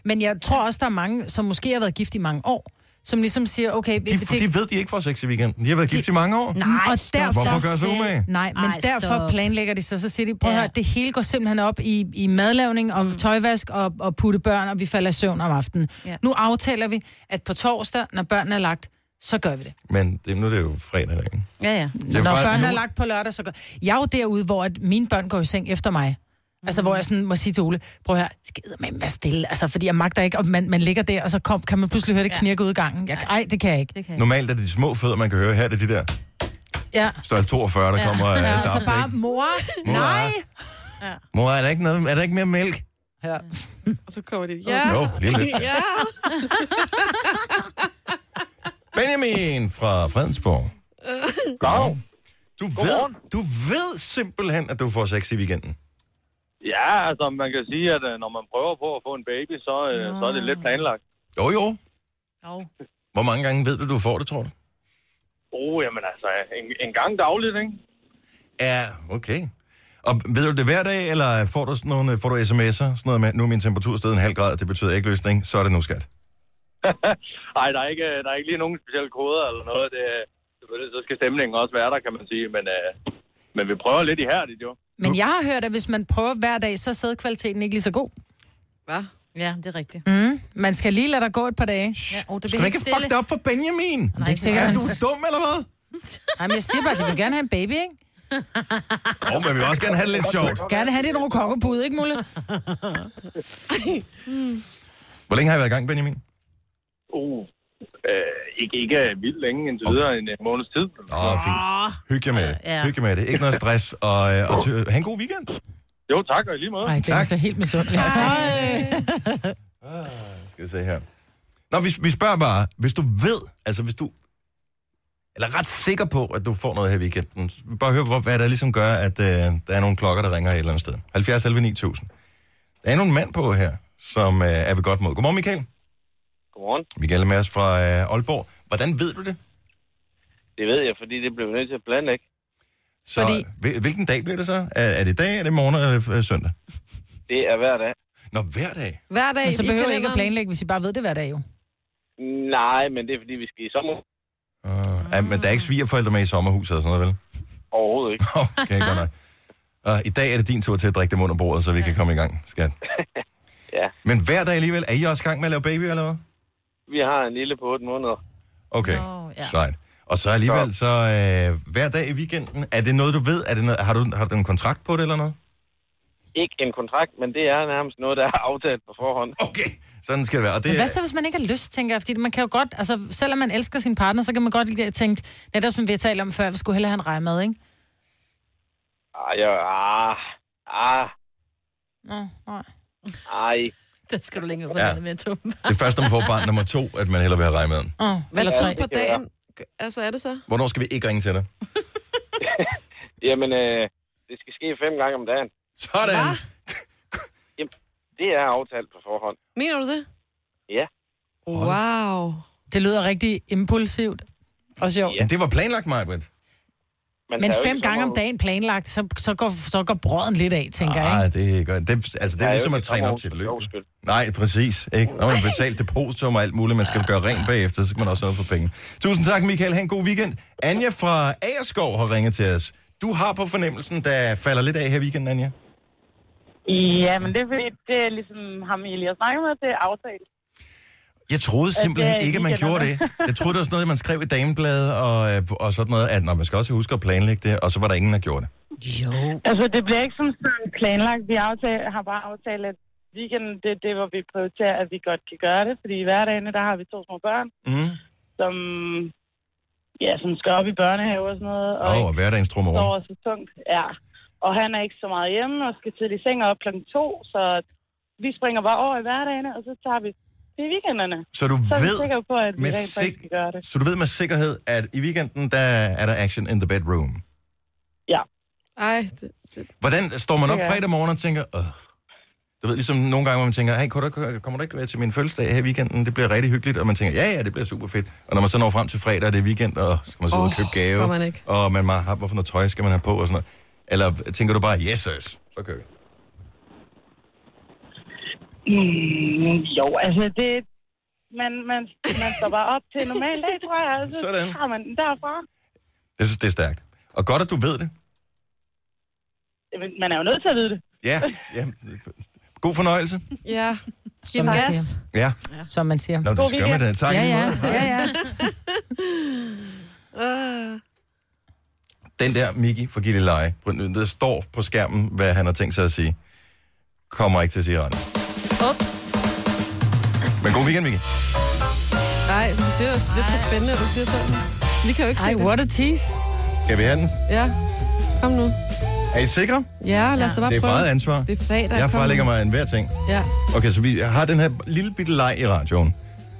S2: Men jeg tror også, der er mange, som måske har været gift i mange år, som ligesom siger, okay... Mm,
S1: De, de ved, de ikke får sex i weekenden. De har været gift i mange år.
S4: Nej,
S2: og
S4: stop.
S2: derfor-
S1: Hvorfor gør sig
S4: selv.
S1: umage?
S2: Nej, men Ej,
S4: Ej,
S2: derfor
S4: stop.
S2: planlægger de så, så siger de, prøv at
S4: Ja.
S2: høre, det hele går simpelthen op i, i madlavning
S1: Mm.
S2: og tøjvask og, og putte børn, og vi falder i søvn om aftenen. Ja.
S4: Ja.
S2: Nu aftaler vi, at på torsdag, når børnene er lagt, så gør vi det.
S1: Men det, nu er det jo fredag derinde.
S4: Ja, ja.
S1: er
S2: Men når
S1: faktisk
S2: børnene
S1: nu-
S2: er lagt på lørdag, så går... Jeg er jo derude, hvor at mine børn går i seng efter mig. Altså, hvor jeg sådan må sige til Ole, prøv her, skider man være stille, altså, fordi jeg magter ikke, og man, man ligger der, og så kom, kan man pludselig høre det knirke ud i gangen. Jeg, ej, det kan jeg ikke.
S4: Det kan jeg.
S1: Normalt er det de små fødder, man kan høre. Her er det de der
S2: Ja.
S1: størrelse 42, der kommer. øh, Ja,
S2: Og så bare, mor,
S1: Mor.
S2: nej.
S1: Mor, er der ikke, noget, er der ikke mere mælk?
S2: Ja.
S3: Og så kommer de, ja,
S1: Jo, lige lidt.
S3: ja.
S1: Benjamin fra Fredensborg. Godmorgen. Du ved,
S7: Godmorgen.
S1: du ved simpelthen, at du får sex i weekenden.
S7: Ja, altså man kan sige, at øh, når man prøver på at få en baby, så, øh, så er det lidt planlagt.
S1: Jo, jo.
S4: Jo.
S1: Hvor mange gange ved du, du får det, tror du?
S7: Oh, jamen altså, en, en gang dagligt, ikke? (laughs)
S1: Ja, okay. Og ved du det hver dag, eller får du, sådan nogle, får du sms'er? Sådan noget med, nu er min temperatur steget en halv grad, det betyder ikke løsning, så er det nu skat.
S7: Nej, der er ikke, øh, der er ikke lige nogen specielle koder eller noget. Det, øh, selvfølgelig, så skal stemningen også være der, kan man sige. Men, øh, men vi prøver lidt ihærdigt, jo.
S2: Men jeg har hørt, at hvis man prøver hver dag, så er sædkvaliteten ikke lige så god.
S3: Hvad?
S4: Ja, det er rigtigt.
S2: Man skal lige lade dig gå et par dage.
S4: Ja, oh, det
S1: Mm. Skal
S4: bliver
S1: du
S4: helt
S1: ikke fuck
S4: stille.
S1: det op for Benjamin?
S2: Det er ikke sikkert,
S1: Er
S2: han...
S1: du dum, eller hvad?
S2: Nej, men jeg siger bare, at de vil gerne have en baby, ikke?
S1: Åh, oh, men vi vil også gerne have det lidt sjovt.
S2: Gerne have dit rokokkebud, ikke, Mulle?
S1: Hvor længe har I været i gang, Benjamin?
S7: Uh, øh, ikke, ikke vildt længe indtil videre, en øh, måneds tid.
S1: Åh, oh, fint. Hyg jer med det.
S4: Ja.
S1: Hyg jer med det. Ikke noget stress. Og, øh, og ty- have en god weekend.
S7: Jo, tak, og i lige måde.
S2: Nej, det er
S1: Tak.
S2: så helt misundelig.
S1: Skal vi se her. Nå, vi, vi spørger bare, hvis du ved, altså hvis du eller ret sikker på, at du får noget her i weekenden. Vi vil Bare hør, hvor, hvad der ligesom gør, at øh, der er nogle klokker, der ringer et eller andet sted. 70 11 9000. Der er nogle mand på her, som øh, er ved godt mod. Godmorgen, Michael.
S7: Godmorgen.
S1: Michael Mads fra øh, Aalborg. Hvordan ved du det?
S7: Det ved jeg, fordi det blev vi nødt til at planlægge.
S1: Så,
S2: Fordi-
S1: hvil- Hvilken dag bliver det så? Er, er det i dag, er det i morgen, eller er det øh, søndag?
S7: Det er hver dag.
S1: Nå, hver dag.
S3: Hver dag
S2: Men så
S3: i
S2: behøver jeg ikke at
S3: kalenderen.
S2: planlægge, hvis I bare ved det hver dag, jo.
S7: Nej, men det er fordi, vi skal i sommer.
S1: Uh, ja, men der er ikke svigerforældre med i sommerhuset og sådan noget, vel?
S7: Overhovedet ikke.
S1: Okay, godt nok. Og i dag er det din tur til at drikke dem under bordet, så vi kan komme i gang, skat.
S7: Ja.
S1: Men hver dag alligevel, er I også i gang med at lave baby, eller hvad?
S7: Vi har en lille på 8 måneder.
S1: Okay,
S4: Nå, ja.
S1: sejt. Og så alligevel, så øh, hver dag i weekenden, er det noget, du ved? Er det noget, har, du, har du en kontrakt på det, eller noget?
S7: Ikke en kontrakt, men det er nærmest noget, der er (laughs) aftalt på forhånd.
S1: Okay, sådan skal det være. Og det,
S2: Men hvad
S7: Øh.
S2: så, hvis man ikke har lyst, tænker jeg? Fordi man kan jo godt, altså selvom man elsker sin partner, så kan man godt lige tænke, netop som vi har talt om før, vi skulle hellere have en rejmad, ikke?
S7: Ah, ja, ah, ah,
S2: Nå, nej.
S7: ej.
S4: (laughs) Der skal du længere ud
S1: Ja.
S4: ja. med at tumpe.
S1: det er først, når man får barn nummer to, at man hellere vil have regmaden.
S2: Åh,
S3: Hvad
S2: eller
S3: tid
S2: tre.
S3: på dagen? Altså, er det så?
S1: Hvornår skal vi ikke ringe til dig?
S7: Jamen, øh, det skal ske fem gange om dagen.
S1: Sådan!
S3: Hva?
S7: Det er aftalt på forhånd.
S3: Mener du det?
S7: Ja.
S3: Wow.
S2: Det lyder rigtig impulsivt. Og sjovt.
S7: Ja.
S1: Men det var planlagt, Majbrit.
S7: Man
S2: Men
S7: tager jo
S2: fem
S7: ikke
S2: gange om
S7: sommerhus.
S2: dagen planlagt, så, så, går, så går brøden lidt af,
S7: Ah,
S2: tænker jeg, ikke?
S1: Nej, det gør det. Altså, det
S7: Der
S1: er
S7: jo
S1: ligesom
S7: ikke
S1: at træne op
S7: sommerhus
S1: til et
S7: for
S1: løb.
S7: sjov skyld.
S1: Nej, præcis. Ikke? Når man har betalt depositum og alt muligt, man skal gøre rent bagefter, så skal man også have noget for penge. Tusind tak, Michael. Ha' en god weekend. Anja fra Agerskov har ringet til os. Du har på fornemmelsen, der falder lidt af her i weekenden, Anja.
S8: Ja, men det er fordi, det er ligesom ham, Elias snakker med, det er aftalt.
S1: Jeg troede simpelthen
S8: det er
S1: ikke, at man gjorde det.
S8: weekenderne.
S1: Jeg troede, det var sådan noget, man skrev i damebladet og, øh, og sådan noget, at når man skal også huske at planlægge det, og så var der ingen, der gjorde det.
S2: Jo.
S8: Altså, det bliver ikke som sådan planlagt. Vi aftale, har bare aftalt, at weekenden, det er det, hvor vi prioriterer, at vi godt kan gøre det. Fordi i hverdagene, der har vi to små børn,
S1: Mm.
S8: som, ja, som skal op i børnehave og sådan noget. Og
S1: Åh,
S8: oh.
S1: og hverdagens trummerum.
S8: sover så tungt. Ja. Og han er ikke så meget hjemme og skal tidlig i seng og op klokken to, så vi springer bare over i hverdagene, og så tager vi det er weekenderne.
S1: Så du
S8: Så er vi
S1: ved,
S8: sikre på, at vi
S1: med
S8: rent faktisk
S1: sik-
S8: skal gøre det.
S1: så du ved med sikkerhed, at i weekenden, der er der action in the bedroom.
S8: Ja.
S3: Ej, det, det,
S1: Hvordan står man op
S8: Ja.
S1: fredag morgen og tænker, Åh. du ved, ligesom nogle gange, hvor man tænker, hey, kunne du, kommer du ikke være til min fødselsdag her i weekenden? Det bliver rigtig hyggeligt, og man tænker, ja, ja, det bliver super fedt. Og når man så når frem til fredag, og det er weekend, og så skal man sidde oh, og
S3: Åh,
S1: købe gave,
S3: gør man ikke.
S1: og man har, hvorfor noget tøj skal man have på, og sådan noget. Eller tænker du bare, yes, yes, så kører vi.
S8: Mm, jo, altså det... Man, man, man står bare op til en normal dag, tror jeg. Altså,
S1: Sådan.
S8: Så har man den derfra.
S1: Jeg synes, det er stærkt. Og godt, at du ved det.
S8: Jamen, Man er jo nødt til at vide det.
S1: Ja, ja. God fornøjelse.
S3: ja. Giv
S2: man
S3: gas.
S2: siger.
S1: Ja,
S2: som man siger.
S1: Nå, det
S8: God
S1: skal man da.
S8: weekend.
S1: Tak i
S2: Ja,
S1: lige
S2: ja,
S1: måde.
S2: ja, ja.
S3: Uh,
S1: den der Mickey fra Gilleleje, der står på skærmen, hvad han har tænkt sig at sige, kommer ikke til at sige andet.
S4: Ups.
S1: Men god weekend, Mickey.
S3: nej, det er da lidt for spændende, at du siger sådan. Vi kan jo ikke
S2: Ej,
S3: se det.
S2: what a tease.
S1: Skal vi have den?
S3: Ja. Kom nu.
S1: Er I sikre?
S3: Ja, lad os da bare
S1: Det er
S3: prøve.
S1: meget ansvar.
S3: Det er fredag.
S1: Jeg
S3: kom nu.
S1: frelægger mig en hver ting.
S3: Ja.
S1: Okay, så vi har den her lille bitte leg i radioen.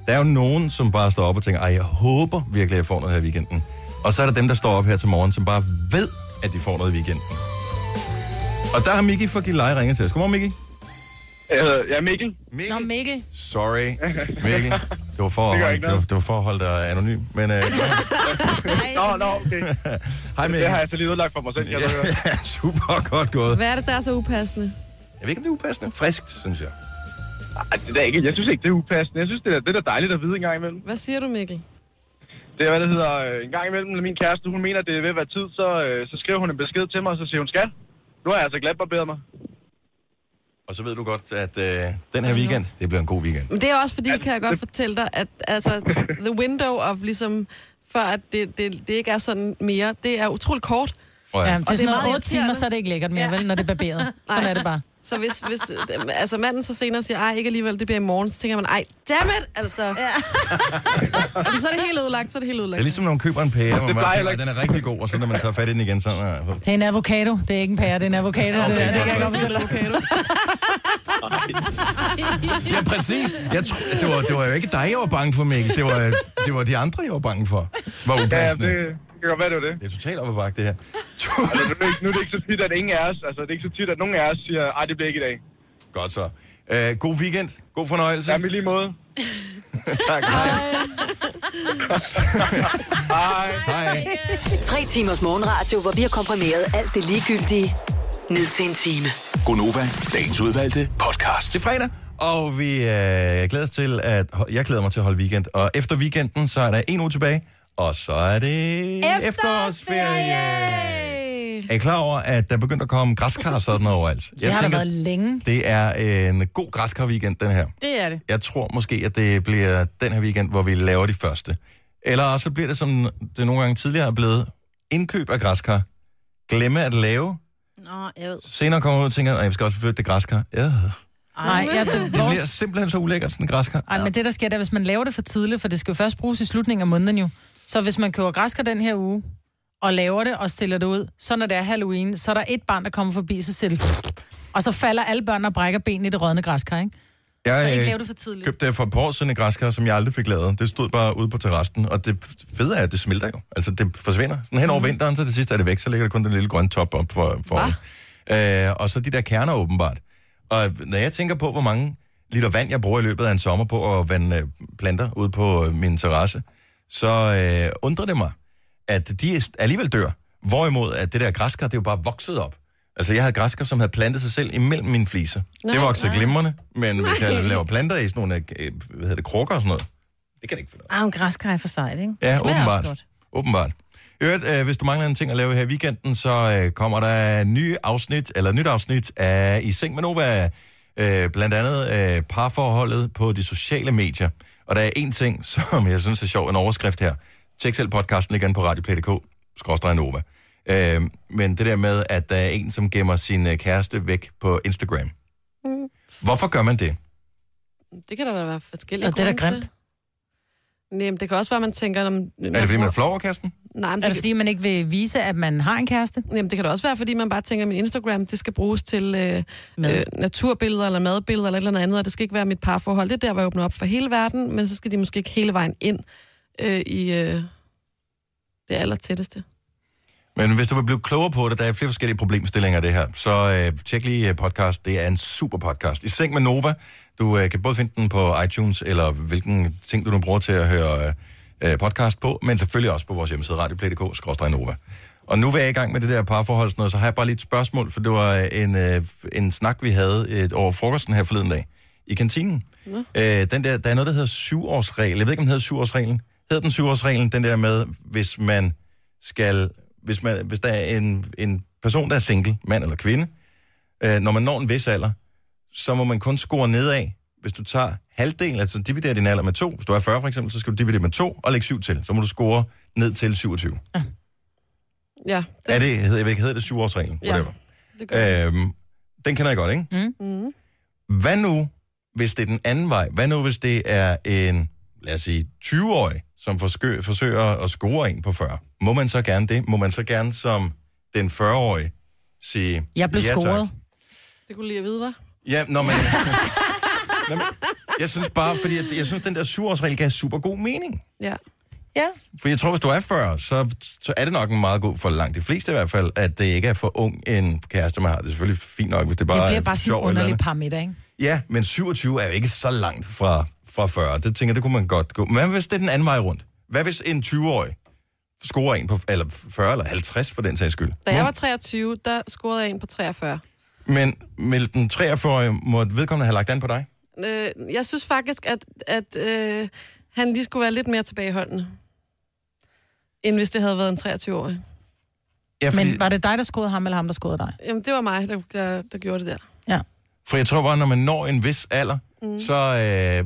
S1: Der er jo nogen, som bare står op og tænker, ej, jeg håber virkelig, at jeg får noget her i weekenden. Og så er der dem, der står op her til morgen, som bare ved, at de får noget i weekenden. Og der har Mickey fra Gilleleje ringet til os. Godmorgen, Mickey.
S7: Øh, ja, Mikkel.
S1: Mickey.
S4: Nå, Mikkel.
S1: Sorry, Mikkel. Det var for at
S7: Det gør
S1: holde,
S7: ikke
S1: det var,
S7: noget.
S1: det var for at holde dig anonym.
S7: (laughs)
S1: Men, øh,
S4: Nej.
S7: Nå, nå,
S1: (laughs)
S7: okay.
S1: hej Mikkel.
S7: Det har jeg så lige udlagt for mig selv, kan jeg høre.
S1: (laughs) Ja, super godt gået.
S3: Hvad er det, der er så upassende?
S1: Jeg ved ikke, om det er upassende. Friskt, synes jeg.
S7: Ej, det er da ikke. Jeg synes ikke, det er upassende. Jeg synes, det er, det er da dejligt at vide en gang imellem.
S3: Hvad siger du, Mikkel?
S7: Det er, hvad det hedder, øh, en gang imellem, når min kæreste, hun mener, det er ved at være tid, så, øh, så skriver hun en besked til mig, og så siger hun, skat, nu har jeg altså glatbarberet mig.
S1: Og så ved du godt, at øh, den her weekend, det bliver en god weekend.
S3: Men det er også fordi, kan jeg godt fortælle dig, at altså, the window of ligesom, for at det, det, det ikke er sådan mere, det er utroligt kort.
S1: Og,
S2: Ja,
S1: ja.
S2: det
S3: Og det
S2: er
S3: er
S2: sådan
S3: meget
S2: noget 8 timer,
S3: irriterende.
S2: så er det ikke lækkert mere, vel, når det er
S3: (laughs)
S2: barberet. Sådan er det bare.
S3: Så hvis, hvis (laughs) øh, altså manden så senere siger, ej, ikke alligevel, det bliver i morgen, så tænker man, ej, dammit, altså. Ja. (laughs) Jamen, så er det helt udlagt, så er det helt
S1: Det
S3: udlagt.
S1: er ligesom, når man køber en pære, hvor man
S7: plejer
S1: tænker,
S7: ikke.
S1: den er rigtig god, og så når man tager fat i den igen, så er den
S2: Det er en avocado. Det er ikke en pære, det er en avocado.
S1: Ja,
S2: det,
S1: okay,
S2: det, det kan
S1: godt
S2: jeg godt
S1: så.
S2: fortælle dig.
S1: Ja, præcis. Jeg tro, det, var, det var jo ikke dig, jeg var bange for, Mikkel. Det var, det var de andre, jeg var bange for. Var
S7: Ja,
S1: upassende.
S7: det, det kan godt være, det var det.
S1: Det er totalt op ad bakke, det her. (laughs)
S7: Altså, nu, er det ikke, nu er det ikke så tit, at ingen af os, altså det er ikke så tit, at nogen af os siger, ej, det bliver ikke i dag.
S1: Godt så. Øh, god weekend. God fornøjelse.
S7: Ja, i lige måde.
S1: tak. Hej.
S7: Hej.
S1: Hej.
S6: Tre timers morgenradio, hvor vi har komprimeret alt det ligegyldige ned til en time.
S5: Gonova, dagens udvalgte podcast.
S1: Det er fredag, og vi øh, glæder os til, at jeg glæder mig til at holde weekend. Og efter weekenden, så er der en uge tilbage, og så er det efterårsferie. Er I klar over, at der er begyndt at komme græskar sådan overalt? Jeg
S2: Det har der været længe.
S1: det er en god græskar-weekend, den her.
S4: Det er det.
S1: Jeg tror måske, at det bliver den her weekend, hvor vi laver de første. Eller også så bliver det, som det nogle gange tidligere er blevet, indkøb af græskar. Glemme at lave.
S4: Nå, jeg ved.
S1: Senere kommer man ud og tænker, at jeg skal også flytte det græskar. Ja. Det
S2: Nej, ja, det,
S1: bliver
S2: vores...
S1: simpelthen så ulækkert, sådan en græskar.
S2: Ej, men det der sker, der, hvis man laver det for tidligt, for det skal jo først bruges i slutningen af måneden jo. Så hvis man køber græsker den her uge, og laver det og stiller det ud, så når det er Halloween, så er der et barn, der kommer forbi, så siger det... Og så falder alle børn og brækker benene i det rådne græskar, ikke?
S1: Jeg
S2: Så ikke
S1: øh,
S2: lave det for tidligt.
S1: købte for et par år siden et græskar, som jeg aldrig fik lavet. Det stod bare ude på terrassen, og det fede er, at det smelter jo. Altså, det forsvinder. Sådan
S2: Mm.
S1: hen over vinteren, så til sidst er det væk, så ligger der kun den lille grønne top op for, for øh, Og så de der kerner åbenbart. Og når jeg tænker på, hvor mange liter vand, jeg bruger i løbet af en sommer på at vande øh, planter ude på øh, min terrasse, så øh, undrer det mig, at de er- alligevel dør. Hvorimod, at det der græskar, det er jo bare vokset op. Altså, jeg havde græskar, som havde plantet sig selv imellem mine fliser. Nej, det voksede glimrende, men nej. hvis jeg laver planter i sådan nogle, øh, hvad hedder det, krukker og sådan noget, det kan det ikke finde ud af.
S4: Ah, en græskar er for sejt, ikke?
S1: Ja,
S4: Det smager også
S1: åbenbart. Åbenbart. I Øvrigt, øh, hvis du mangler en ting at lave her i weekenden, så øh, kommer der nye afsnit, eller nyt afsnit af I Seng med Nova, øh, blandt andet øh, parforholdet på de sociale medier. Og der er en ting, (laughs) som jeg synes er sjov, en overskrift her. Tjek selv podcasten igen på radioplay.dk, skråstrej Nova. Øh, men det der med, at der er en, som gemmer sin øh, kæreste væk på Instagram. Mm. Hvorfor gør man det?
S3: Det kan der da være forskellige
S2: Og det er da
S3: grunde til. Nej, men det kan også være, at man tænker... Om,
S1: Er det fordi, man er flov over, Kirsten?
S3: Nej, men
S2: Er
S3: det,
S2: det fordi, man ikke vil vise, at man har en kæreste?
S3: Jamen, det kan da også være, fordi man bare tænker, at min Instagram, det skal bruges til øh, øh, naturbilleder eller madbilleder eller et eller andet andet, og det skal ikke være mit parforhold. Det er der, hvor jeg åbner op for hele verden, men så skal de måske ikke hele vejen ind øh, i øh, det allertætteste.
S1: Men hvis du vil blive klogere på det, der er flere forskellige problemstillinger i det her, så øh, tjek lige øh, podcast. Det er en super podcast. I Seng med Nova. Du øh, kan både finde den på iTunes, eller hvilken ting du nu bruger til at høre øh, øh, podcast på, men selvfølgelig også på vores hjemmeside radioplay.dk-nova. Og nu er jeg i gang med det der parforhold, sådan noget, så har jeg bare lige et spørgsmål, for det var øh, en, øh, en snak, vi havde øh, over frokosten her forleden dag i kantinen. Øh, den der, der er noget, der hedder syvårsregel. Jeg ved ikke, om den hedder syvårsreglen. Hedder den syvårsreglen, den der med, hvis man skal, hvis, man, hvis der er en, en person, der er single, mand eller kvinde, øh, når man når en vis alder, så må man kun score nedad, hvis du tager halvdelen, altså dividerer din alder med to. Hvis du er 40 for eksempel, så skal du dividere med to og lægge syv til. Så må du score ned til 27.
S3: Ja, det,
S1: Er det, hedder, hedder det syvårsreglen?
S3: Ja.
S1: Whatever.
S3: det gør jeg.
S1: Øhm, den kender jeg godt, ikke?
S3: Mm.
S1: Hvad nu, hvis det er den anden vej? Hvad nu, hvis det er en, lad os sige, 20-årig, som forskø- forsøger at score en på 40? Må man så gerne det? Må man så gerne som den 40-årige sige...
S2: Jeg blev
S1: ja, tak"?
S2: scoret.
S3: Det kunne du lige at vide, hva'?
S1: Ja, når man... (laughs) Nå, men jeg synes bare, fordi jeg, jeg synes, den der 7-årsregel gav super god mening.
S3: Ja.
S2: Ja.
S1: For jeg tror, hvis du er 40, så, så er det nok en meget god, for langt de fleste i hvert fald, at det ikke er for ung en kæreste, man har. Det er selvfølgelig fint nok, hvis det bare
S2: Det
S1: er
S2: bliver bare sådan
S1: sjov
S2: en
S1: eller
S2: underlig
S1: andet.
S2: parameter, ikke?
S1: Ja, men 27 er jo ikke så langt fra, fra 40. Det tænker jeg, det kunne man godt gå. Men hvad hvis det er den anden vej rundt? Hvad hvis en 20-årig scorer en på eller 40 eller 50 for den sags skyld?
S3: Da jeg var 23, der scorede jeg en på 43.
S1: Men med den 43 må vedkommende have lagt an på dig?
S3: Øh, jeg synes faktisk, at, at øh, han lige skulle være lidt mere tilbageholdende, end hvis det havde været en 23-årig.
S1: Ja, fordi,
S2: Men var det dig, der scorede ham, eller ham, der scorede dig?
S3: Jamen, det var mig, der, der, der gjorde det der.
S1: For jeg tror bare, når man når en vis alder, mm. så,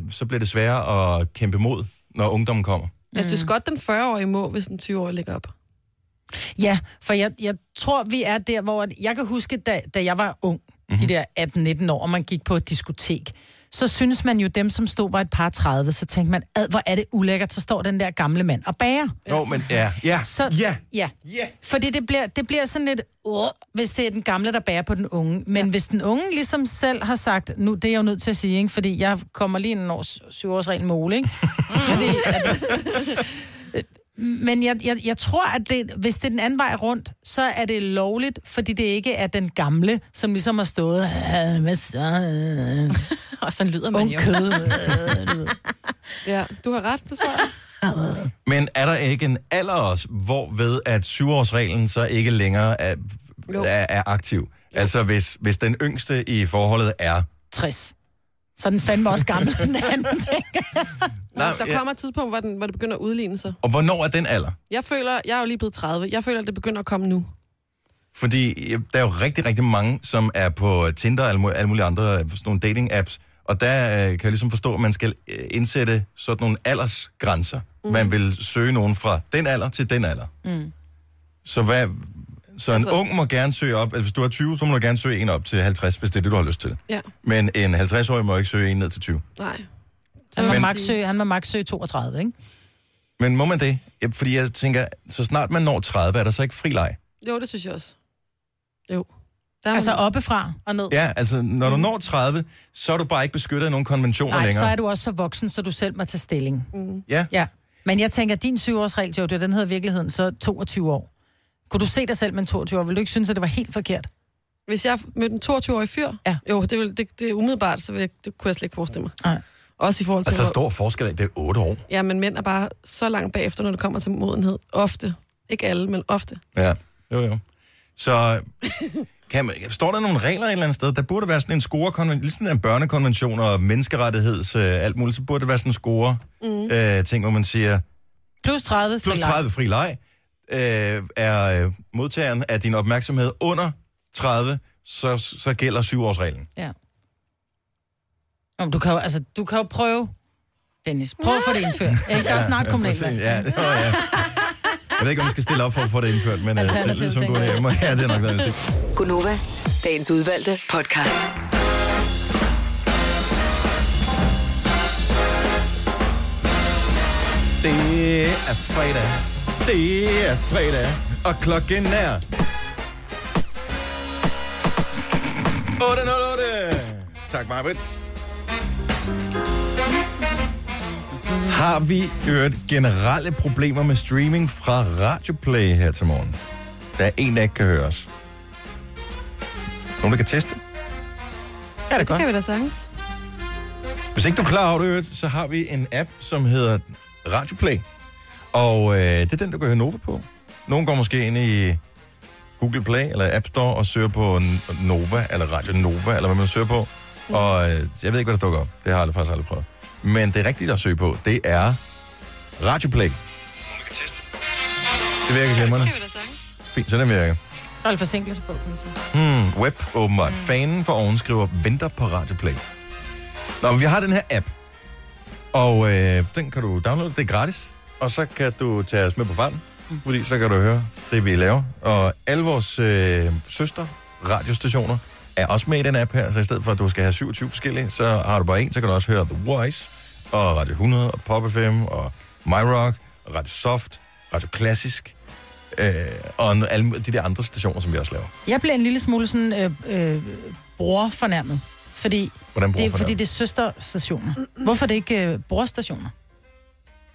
S1: øh, så bliver det sværere at kæmpe mod, når ungdommen kommer.
S3: Jeg synes godt, den 40-årige må, hvis den 20-årige ligger op.
S2: Ja, for jeg, jeg tror, vi er der, hvor... at- Jeg kan huske, da, da jeg var ung, mm-hmm. de der 18-19 år, og man gik på et diskotek, så synes man jo, dem, som stod, var et par 30, så tænkte man, ad, hvor er det ulækkert, så står den der gamle mand og bager.
S1: Ja. Jo, men ja, ja,
S2: Så,
S1: ja,
S2: ja.
S1: ja.
S2: Fordi det bliver, det bliver sådan lidt, uh, hvis det er den gamle, der bærer på den unge. Men ja. hvis den unge ligesom selv har sagt, nu det er jeg jo nødt til at sige, ikke? fordi jeg kommer lige en års, syvårsregel med
S4: (laughs)
S2: Ole, ikke? fordi, at, men jeg, jeg, jeg tror, at det, hvis det er den anden vej rundt, så er det lovligt, fordi det ikke er den gamle, som ligesom har stået, "Ah, hvad så, øh,
S4: (laughs) Og sådan lyder man
S2: ung
S4: jo.
S2: kød, øh, du ved."
S3: Ja, du har ret, det tror (laughs) jeg.
S1: Men er der ikke en alder også, hvor ved at syvårsreglen så ikke længere er,
S3: Jo.
S1: er, er aktiv? Altså hvis, hvis den yngste i forholdet er...
S2: 60. Så er den fandme også gammel, den
S4: Mm.
S2: anden, tænker jeg.
S1: Nej,
S3: Der kommer et tidspunkt, hvor, den, hvor det begynder at udligne sig.
S1: Og hvornår er den alder?
S3: Jeg føler, jeg er jo lige blevet 30. Jeg føler, at det begynder at komme nu.
S1: Fordi øh, der er jo rigtig, rigtig mange, som er på Tinder og alle mu- alle mulige andre øh, sådan nogle dating-apps. Og der øh, kan jeg ligesom forstå, at man skal øh, indsætte sådan nogle aldersgrænser. Mm.
S3: Mhm.
S1: Man vil søge nogen fra den alder til den alder. Mm. Så, hvad, så en altså,
S3: Altså-
S1: ung må gerne søge op, altså hvis du er 20, så må du gerne søge en op til 50, hvis det er det, du har lyst til.
S3: Ja,
S1: Men en 50-årig må ikke søge en ned til 20.
S3: nej.
S2: Han må
S1: Men-
S2: max søge, han må max søge 32, ikke?
S1: Men må man det? Ja, fordi jeg tænker, så snart man når 30, er der så ikke fri leg?
S3: Jo, det synes jeg også. Jo. Der er
S2: Altså
S3: altså,
S2: oppefra og ned.
S1: Ja, altså når du når 30, så er du bare ikke beskyttet af nogen konventioner
S2: Nej,
S1: længere.
S2: så er du også så voksen, så du selv må tage stilling.
S1: Ja.
S2: Ja. Men jeg tænker, din syvårsregel, Jojo, den hedder i virkeligheden så 22 år. Kunne du se dig selv med en 22 år? Vil du ikke synes, at det var helt forkert?
S3: hvis jeg mødte en 22-årig fyr,
S2: Ja.
S3: jo, det, vil, det, det er umiddelbart, så vil jeg, det kunne jeg slet ikke forestille mig.
S2: Nej.
S3: Også i forhold til...
S1: Altså, der er
S3: hvor-
S1: stor forskel af, det er 8 år.
S3: Ja, men mænd er bare så langt bagefter, når det kommer til modenhed. Ofte. Ikke alle, men ofte.
S1: Ja, jo jo. Så kan man, står der nogle regler et eller andet sted? Der burde være sådan en scorekonvention, ligesom en børnekonvention og menneskerettigheds øh, alt muligt, så burde der være sådan en score mm. øh, ting, hvor man siger,
S2: Plus 30.
S1: plus
S2: fri leg.
S1: 30 fri leg, øh, er øh, modtageren af din opmærksomhed under 30, så, så gælder syvårsreglen.
S2: Ja. Nå, men du, kan jo, altså, du kan jo prøve, Dennis. Prøv at få det indført. Ikke? Der er snart kommunalvalg.
S1: Ja, det var, ja. Jeg ved ikke, om vi skal stille op for at få det indført, men øh, det lyder
S2: Alternativ,
S1: som en god
S2: tænker
S1: idé. Ja, det er nok noget, det
S6: Gunova, dagens udvalgte podcast.
S1: Det er fredag. Det er fredag, og klokken er... 8.08. Tak, Marbet. Har vi hørt generelle problemer med streaming fra Radioplay her til morgen? Der er en, der ikke kan høres. Nogen, der kan teste?
S2: Ja, det er
S3: Det
S2: godt.
S3: kan vi da sagtens.
S1: Hvis ikke du er klar over det, i øvrigt, så har vi en app, som hedder Radioplay. Og øh, det er den, du kan høre Nova på. Nogen går måske ind i Google Play eller App Store og søger på N- Nova, eller Radio Nova, eller hvad man søger på. Og øh, jeg ved ikke, hvad der dukker op. Det har jeg aldrig- faktisk aldrig prøvet. Men det rigtige, der søger på, det er Radioplay. Det virker glimrende. Fint, så den virker.
S2: Der er lidt forsinkelse på, kan man sige.
S1: Hmm, web åbenbart. Fanen for oven skriver, venter på Radioplay. Nå, men vi har den her app, og øh, den kan du downloade. Det er gratis, og så kan du tage os med på farten, fordi så kan du høre det, vi laver. Og alle vores øh, søster radiostationer er også med i den app her, så i stedet for, at du skal have 27 forskellige, så har du bare en, så kan du også høre The Voice, og Radio 100, og Pop FM, og My Rock, og Radio Soft, Radio Klassisk, øh, og n- alle de der andre stationer, som vi også laver.
S2: Jeg bliver en lille smule sådan øh, øh, brorfornærmet, fordi
S1: Hvordan
S2: det,
S1: bruger
S2: er, fordi det er søsterstationer. Hvorfor er det ikke øh, brorstationer?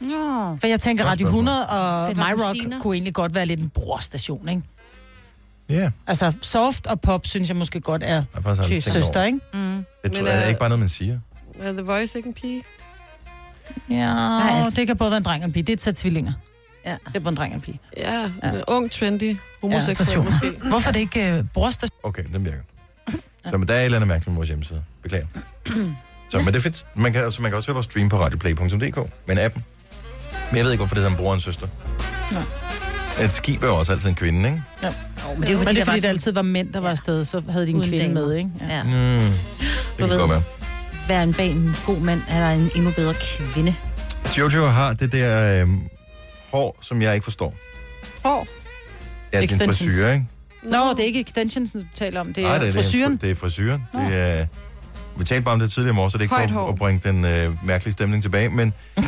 S4: Nå.
S2: For jeg tænker,
S1: Godt
S2: Radio
S1: spørgsmål.
S2: 100 og
S4: Fætter og
S2: My
S4: kusiner.
S2: Rock kunne egentlig godt være lidt en brorstation, ikke?
S1: Ja, yeah.
S2: Altså, soft og pop synes jeg måske godt er
S1: jeg har faktisk aldrig tænkt
S2: søster,
S1: over.
S2: ikke?
S4: Mm.
S1: Jeg tror,
S3: Men,
S1: det er
S3: øh,
S1: ikke bare noget, man siger.
S3: Er The Voice ikke en pige?
S2: Ja,
S4: Nej, altså-
S2: det kan både være en dreng og en pige. Det er et sæt tvillinger.
S4: Ja.
S2: Det er både en dreng og en pige.
S3: Ja,
S2: Ja.
S3: ja. ung, trendy, homoseksuel
S2: station.
S3: ja, måske.
S2: Hvorfor er det ikke øh, brorstation?
S1: Okay, den
S3: (laughs)
S1: virker. Så men der er et eller andet mærkeligt med vores hjemmeside.
S3: (clears throat)
S1: Beklager. Så, men det er fedt. Man kan, altså, man kan også høre vores stream på radioplay.dk, men appen. Men jeg ved ikke, hvorfor det hedder en bror og en søster.
S2: Nej.
S1: Et skib er jo også altid en kvinde, ikke?
S4: Men det er jo
S2: Men
S4: fordi,
S2: det er fordi, det
S4: der var
S2: altid var mænd, der var afsted, så havde de en
S4: Uden
S2: kvinde
S4: damer.
S2: med, ikke?
S4: sådan, ja,
S1: Mm, det kan
S4: ved.
S1: godt være.
S4: være en bag en god mand, eller en endnu bedre kvinde.
S1: Jojo har det der øh, hår, som jeg ikke forstår.
S3: Hår.
S1: Ja, det er en
S2: Extensions.
S1: frisyr, ikke?
S2: Nå, det er ikke extensions, du taler om. Det er,
S1: Nej, det er,
S2: frisyren.
S1: Det er frisyren. Det er, vi talte bare om det tidligere i morges, så det er ikke
S3: Højt
S1: for
S3: hår.
S1: at bringe den øh, mærkelige stemning tilbage, men det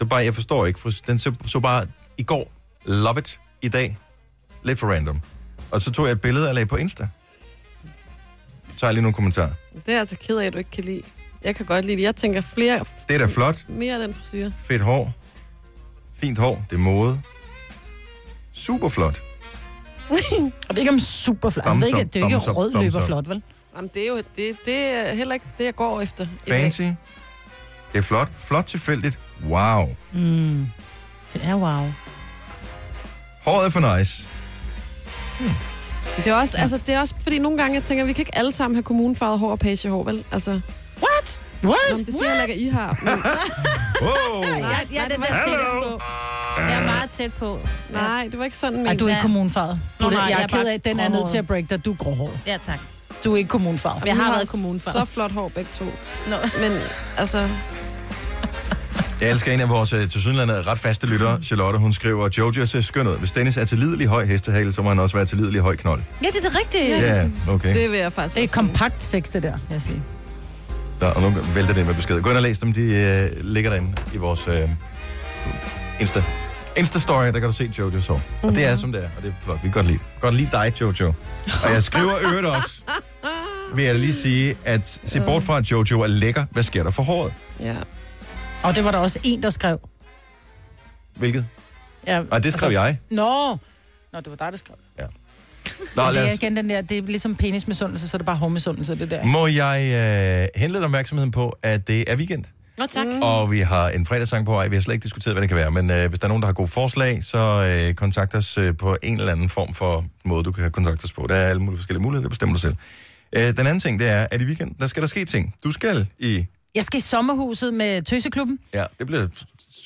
S1: er bare, jeg forstår ikke. fris- Den så, så bare i går, love it, i dag, lidt for random. Og så tog jeg et billede og lagde på Insta. Så tager jeg lige nogle kommentarer.
S3: Det er jeg altså ked af, at du ikke kan lide. Jeg kan godt lide det. Jeg tænker flere,
S1: Det er da flot,
S3: mere af den frisyr.
S1: fedt hår, fint hår, det er mode. Super flot.
S2: Og det er ikke om superflot. Altså,
S1: Thumbs
S2: det er ikke,
S1: up,
S2: det er jo
S1: thumbs
S2: ikke
S1: up,
S2: rød
S1: thumbs
S2: løber
S1: up.
S2: flot, vel?
S3: Jamen, det er jo det, det er heller ikke det, jeg går efter. i dag.
S1: Fancy. Det er flot. Flot tilfældigt. Wow.
S4: Mm. Det er wow.
S1: Håret er for nice.
S3: Det er, også, altså, det er også, fordi nogle gange, jeg tænker, vi kan ikke alle sammen have kommunefarvet hår og pagehår, vel? Altså, nå,
S2: What?
S3: men det siger jeg heller ikke, at I har. Men,
S1: Wow.
S4: Jeg, jeg er den der tæt på. Jeg er meget tæt på.
S3: nej, det var ikke sådan, men...
S2: Ej, du er ikke kommunfarvet.
S4: Nå, nej, jeg
S2: jeg, jeg
S4: er
S2: er
S4: bare
S2: ked af, at den er nødt
S4: gråhåret.
S2: til at break dig. Du er gråhåret.
S4: Ja, tak.
S2: Du er ikke kommunfarvet.
S4: Jeg har
S3: I
S4: været kommunefarvet.
S3: Så flot hår begge to.
S4: Nå.
S3: Men altså,
S1: Jeg elsker en af vores øh, tilsyneladende ret faste lyttere, Charlotte. Hun skriver, Jojo ser skøn ud. Hvis Dennis er til lidelig høj hestehale, så må han også være til lidelig høj knold.
S4: Ja, det er det rigtige.
S1: Ja, okay.
S3: det vil jeg faktisk
S2: Det er
S3: også
S2: kompakt sex, det der, jeg siger.
S1: Der, og nu vælter det med besked. Gå ind og læs dem. De øh, ligger derinde i vores øh, Insta. Insta-story, der kan du se Jojo så. Og det
S2: Mhm.
S1: er, som det er, og det er flot. Vi kan godt lide, godt lide dig, Jojo. Og jeg skriver i øvrigt
S2: (laughs)
S1: også, vil jeg lige sige, at se bort fra, at Jojo er lækker. Hvad sker der for håret?
S3: mene. Ja.
S2: Og det var der også en, der skrev.
S1: Hvilket?
S2: Ja,
S1: Og Ah, det skrev
S2: altså-
S1: jeg.
S2: Nå! Nå, det var dig, der skrev.
S1: Nå,
S2: det
S1: lad
S2: er
S1: os...
S2: igen den der, det er ligesom penismisundelse, så er det bare hårmisundelse, det der.
S1: Må jeg øh, henlede opmærksomheden på, at det er weekend?
S4: Nå, tak.
S1: Mm. Og vi har en fredagssang på vej. Vi har slet ikke diskuteret, hvad det kan være. Men øh, hvis der er nogen, der har gode forslag, så øh, kontakt os øh, på en eller anden form for måde, du kan kontakte os på. Der er alle mulige forskellige muligheder, det bestemmer du selv. Øh, den anden ting, det er, at i weekenden, der skal der ske ting. Du skal i...
S2: Jeg skal i sommerhuset med Tøseklubben.
S1: Ja, det bliver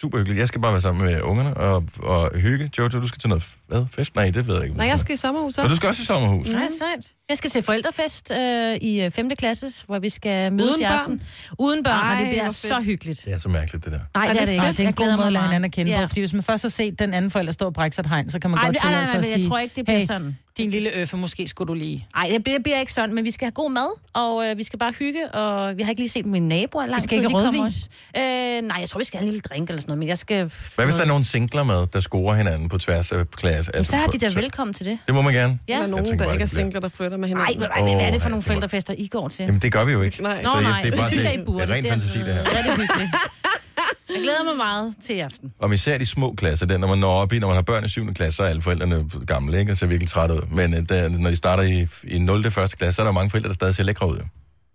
S1: super hyggeligt. Jeg skal bare være sammen med ungerne og, og hygge. Jojo, du skal til noget f- hvad? fest? Nej, det ved jeg ikke.
S3: Nej, jeg skal i sommerhus
S1: Men
S3: også.
S1: du skal også i sommerhus.
S4: Nej, sejt. Jeg skal til forældrefest øh, i 5. klasse, hvor vi skal mødes
S3: Uden
S4: i aften. Uden børn,
S3: Ej,
S4: og det bliver
S3: hvor
S4: så
S3: fedt.
S4: hyggeligt.
S1: Det er så mærkeligt, det der.
S4: Nej,
S3: det er det ikke.
S2: Og det er en
S4: Jeg glæder
S2: god måde
S4: mig
S2: at lære
S4: meget.
S2: hinanden at kende på.
S4: Ja.
S2: Fordi hvis man først har set den anden forælder stå og brække sig et hegn, så kan man
S4: Ej,
S2: godt
S4: nej, nej,
S2: tillade sig
S4: nej,
S2: at
S4: jeg
S2: sige,
S4: tror ikke, det bliver
S2: hey,
S4: sådan.
S2: Din lille øffe, måske skulle du lige...
S4: Nej, det bliver- bliver ikke sådan, men vi skal have god mad, og øh, vi skal bare hygge, og vi har ikke lige set mine naboer i lang
S2: Vi skal ikke
S4: tid,
S2: have
S4: de kommer
S2: rødvin?
S4: også. Øh, nej, jeg tror, vi skal have en lille drink eller sådan noget, men jeg skal...
S1: Hvad hvis der er nogle singler med, der scorer hinanden på tværs af klasse? Altså,
S4: Så er de
S1: på-
S4: der velkommen til det.
S1: Det må man gerne.
S4: Ja.
S3: Der er
S1: Jeg
S3: nogen,
S1: tænker
S3: der
S1: bare,
S3: ikke er
S1: det bliver-
S3: singler, der flytter med
S4: Nej,
S3: hinanden.
S4: hvad, hvad, hvad er det for
S1: Åh,
S4: nogle
S1: nej, det
S4: forældrefester, I går til?
S1: Jamen, det gør vi jo ikke.
S3: Nej.
S4: Nå,
S1: så jeg-
S4: nej,
S1: det er
S4: det
S1: bare-
S4: synes
S1: det-
S4: jeg, I burde.
S1: det er ren
S4: Det
S1: fantasi, det her.
S4: Ja, det er altså- hyggeligt. Jeg glæder mig meget til i aften.
S1: Om især de små klasser, der, når man når op i, når man har børn i 7. klasse, så er alle forældrene gamle, ikke? Og ser virkelig trætte ud. Men øh, der, når de starter i, i 0. til 1. klasse, så er der mange forældre, der stadig ser lækre ud. jo.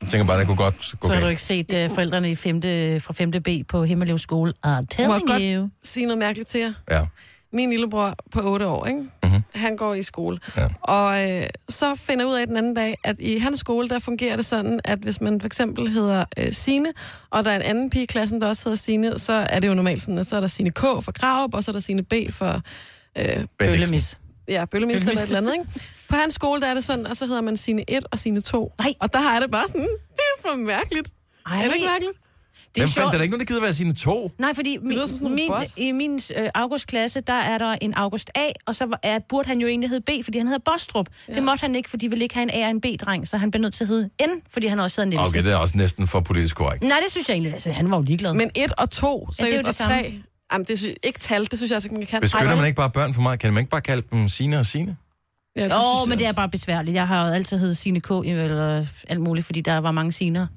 S1: Jeg tænker bare, det kunne godt gå
S4: Så har du
S1: galt.
S4: ikke set øh, forældrene i femte, fra 5. B på Himmeløv skole. I'm
S3: Må jeg
S4: telling you.
S3: godt sige noget mærkeligt til jer?
S1: Ja.
S3: min lillebror på 8 år, ikke? Mm-hmm. han går i skole.
S1: Mhm. Ja.
S3: Og øh, så finder jeg ud af den anden dag, at i hans skole, der fungerer det sådan, at hvis man for eksempel hedder øh, Sine, og der er en anden pige i klassen, der også hedder Sine, så er det jo normalt sådan, at så er der Sine K for Kravup, og så er der Sine B for øh,
S1: Bendiksen.
S2: Bøllemis.
S3: ja, Bøllemis eller et eller andet. Ikke? På hans skole, der er det sådan, og så hedder man Sine 1 og Sine 2.
S4: Nej.
S3: Og der har jeg det bare sådan, (laughs) det er for mærkeligt.
S4: Ej,
S3: Er det ikke mærkeligt?
S4: det er
S1: Hvem fandt
S4: sjovt.
S1: der er ikke nogen, der gider være sine to?
S4: Nej, fordi min,
S3: lyder som sådan en
S4: min,
S3: robot.
S4: i min øh, augustklasse, der er der en August A, og så var- er, burde han jo egentlig hedde B, fordi han hedder Bostrup. Ja. Det måtte han ikke, fordi de ville ikke have en A og en B-dreng, så han blev nødt til at hedde N, fordi han også hedder Nielsen.
S1: Okay,
S4: Okay.
S1: det er også næsten for politisk korrekt.
S4: Nej, det synes jeg egentlig, altså han var jo ligeglad. Men,
S3: Men 1 og 2,
S4: jo
S3: seriøst, ja, det
S4: det
S3: og
S4: samme.
S3: 3. Jamen, det synes, ikke tal, det synes jeg altså ikke, man kan.
S1: Beskytter
S3: Ej,
S1: man ikke bare børn for meget? Kan man ikke bare kalde dem sine og sine?
S3: Ja, det synes
S4: Åh,
S3: jeg
S4: oh, men det er
S3: også.
S4: bare besværligt. Jeg har jo altid heddet Signe K, øh, eller alt muligt, fordi der var mange siner